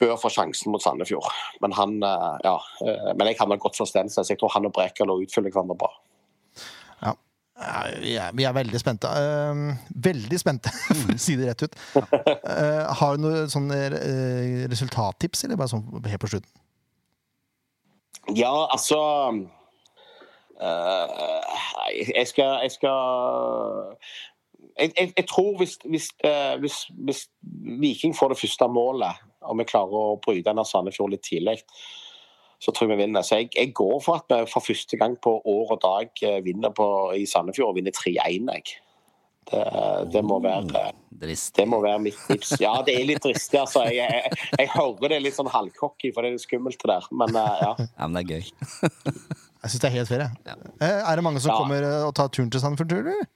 Speaker 6: bør få sjansen mot Sandefjord. Men han, eh, ja, eh, men jeg kan nok godt forstå Stensnes. Jeg tror han og Brekalo utfyller hverandre bra.
Speaker 1: Ja, vi, er, vi er veldig spente. Eh, veldig spente, [LAUGHS] for å si det rett ut. Eh, har du noen sånne eh, resultattips, eller bare sånn helt på slutten?
Speaker 6: Ja, altså eh, Nei, jeg skal Jeg, skal, jeg, jeg, jeg tror hvis, hvis, eh, hvis, hvis Viking får det første målet, og vi klarer å bryte ned Sandefjord litt tidlig, så tror jeg vi vinner. Så jeg, jeg går for at vi for første gang på år og dag eh, vinner på, i Sandefjord og vinner 3-1. jeg. Det, det må være
Speaker 2: Drist.
Speaker 6: det må være mitt tips. Ja, det er litt dristig, altså. Jeg, jeg, jeg hører det er litt sånn halvcocky, for det er litt skummelt det der. Men eh, ja.
Speaker 2: Ja, men det er gøy.
Speaker 1: Jeg syns det er helt fair. jeg. Eh, er det mange som
Speaker 6: Ja.
Speaker 1: kommer eh, og tar turen til Sandefjord, tror du?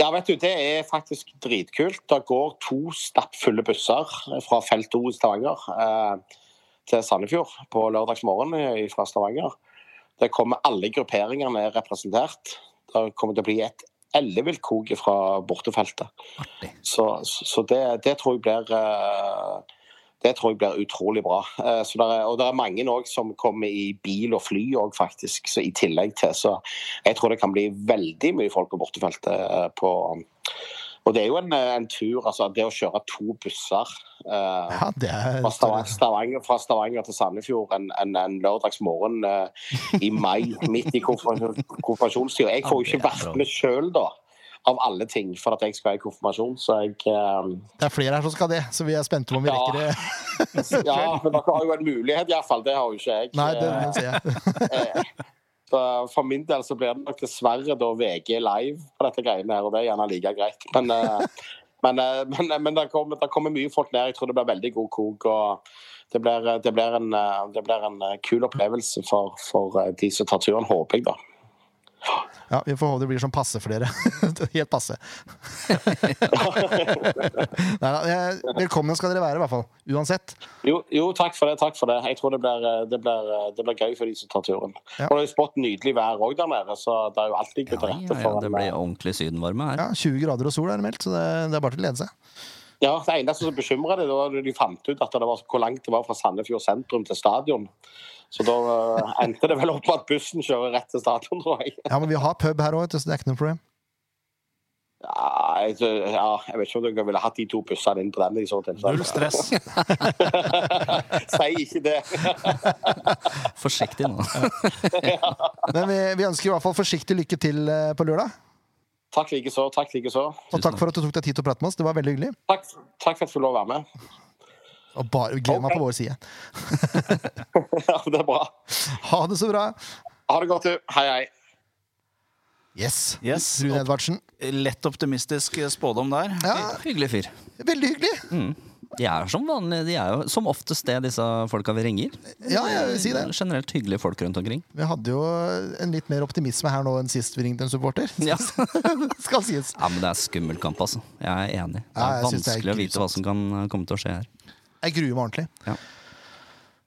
Speaker 6: Ja, vet du, det er faktisk dritkult. Det går to stappfulle busser fra felt O i Stavanger eh, til Sandefjord på lørdagsmorgen eh, fra Stavanger. Det kommer alle grupperingene er representert. Det kommer til å bli et ellevilt kok fra bortefeltet.
Speaker 2: Artig.
Speaker 6: Så, så det, det tror jeg blir eh, det tror jeg blir utrolig bra. Eh, Så der er, og det er mange også som kommer i bil og fly også, faktisk. Så i tillegg til, så jeg tror det kan bli veldig mye folk på bortefeltet. eh, På, og det er jo en, eh, en tur, altså. Det å kjøre to busser eh,
Speaker 1: Ja, det er
Speaker 6: fra Stavanger, Stavanger, fra Stavanger til Sandefjord en, en, en lørdagsmorgen eh, i
Speaker 2: [LAUGHS]
Speaker 6: mai, midt i konfirmasjon- konfirmasjonstida. Jeg får
Speaker 2: Ja,
Speaker 6: jo
Speaker 2: det
Speaker 6: ikke
Speaker 2: er bra.
Speaker 6: vært med sjøl, da. Av alle ting, for at jeg skal i konfirmasjon. Så jeg
Speaker 2: [LAUGHS]
Speaker 6: eh,
Speaker 1: Det er flere her som skal det, så vi er spente på om vi
Speaker 6: Ja.
Speaker 1: rekker det.
Speaker 6: Ja, men dere har jo en mulighet, iallfall. Det har jo ikke jeg.
Speaker 1: Nei, det,
Speaker 6: Eh,
Speaker 1: det ser jeg.
Speaker 6: Eh, så For min del så blir det nok dessverre da VG live på dette greiene her, og det er gjerne like greit. Men, eh, men, eh, men, men det, kommer, det kommer mye folk ned. Jeg tror det blir veldig god kok. og det blir, det, blir en, eh, det blir en eh, kul opplevelse for, for eh, de som tar turen, håper jeg, da.
Speaker 1: Ja, Vi får håpe det blir sånn passe flere. [LAUGHS] Helt passe. [LAUGHS] Neida, jeg- eh, velkommen skal dere være, i hvert fall. Uansett.
Speaker 6: Jo, jo, takk for det. takk for det. Jeg tror det blir, eh, det blir, eh, det blir gøy for de som tar turen.
Speaker 1: Ja.
Speaker 6: Og det er jo spått nydelig vær òg der nede, så det er jo alltid
Speaker 2: Ja,
Speaker 6: blitt til
Speaker 2: ja,
Speaker 6: rette
Speaker 2: ja,
Speaker 6: for
Speaker 2: det
Speaker 6: en,
Speaker 2: blir ordentlig sydenvarme her.
Speaker 1: Ja, 20 grader og sol er det meldt, så det, det er bare til å glede seg.
Speaker 6: Ja, Det eneste som bekymra dem, var da de fant ut at det var hvor langt det var fra Sandefjord sentrum til stadion. Så da eh, endte det vel opp med at bussen kjører rett til stadion, tror jeg.
Speaker 1: Ja, Men vi har pub her òg, så det er ikke noe problem.
Speaker 6: Ja, jeg, ja, jeg vet ikke om dere ville hatt de to bussene inn på den. i så
Speaker 3: Null
Speaker 6: tilfelle.
Speaker 3: stress.
Speaker 6: [LAUGHS] Si ikke det.
Speaker 2: Forsiktig nå.
Speaker 1: Men vi, vi ønsker i hvert fall forsiktig lykke til eh, på lørdag.
Speaker 6: Takk likeså. Takk likeså.
Speaker 1: Og takk for at du tok deg tid til å prate med oss. Det var veldig hyggelig.
Speaker 6: Takk, takk for at jeg fikk lov å være med. [LAUGHS]
Speaker 1: Og bare gled meg på vår side.
Speaker 6: Ja, det er bra.
Speaker 1: Ha det så bra!
Speaker 6: Ha det godt, du. Hei, hei.
Speaker 1: Yes.
Speaker 3: Yes.
Speaker 1: Rune Edvardsen.
Speaker 3: Lett optimistisk spådom der.
Speaker 1: Ja,
Speaker 2: [LAUGHS] Hyggelig fyr.
Speaker 1: veldig hyggelig!
Speaker 2: De er som vanlig, de er jo som oftest det disse folka vi ringer.
Speaker 1: Ja, jeg vil si det.
Speaker 2: Generelt hyggelige folk
Speaker 1: [LAUGHS]
Speaker 2: rundt omkring.
Speaker 1: Vi hadde jo en litt mer optimisme her nå enn sist vi ringte en supporter. [LAUGHS]
Speaker 2: Ja.
Speaker 1: Skal sies.
Speaker 2: Ja, men det er skummel kamp, altså. Jeg er enig. Det
Speaker 1: Ja,
Speaker 2: er
Speaker 1: jeg synes det er
Speaker 2: vanskelig å vite hva som kan eh, komme til å skje her.
Speaker 1: Jeg gruer meg ordentlig.
Speaker 2: Ja.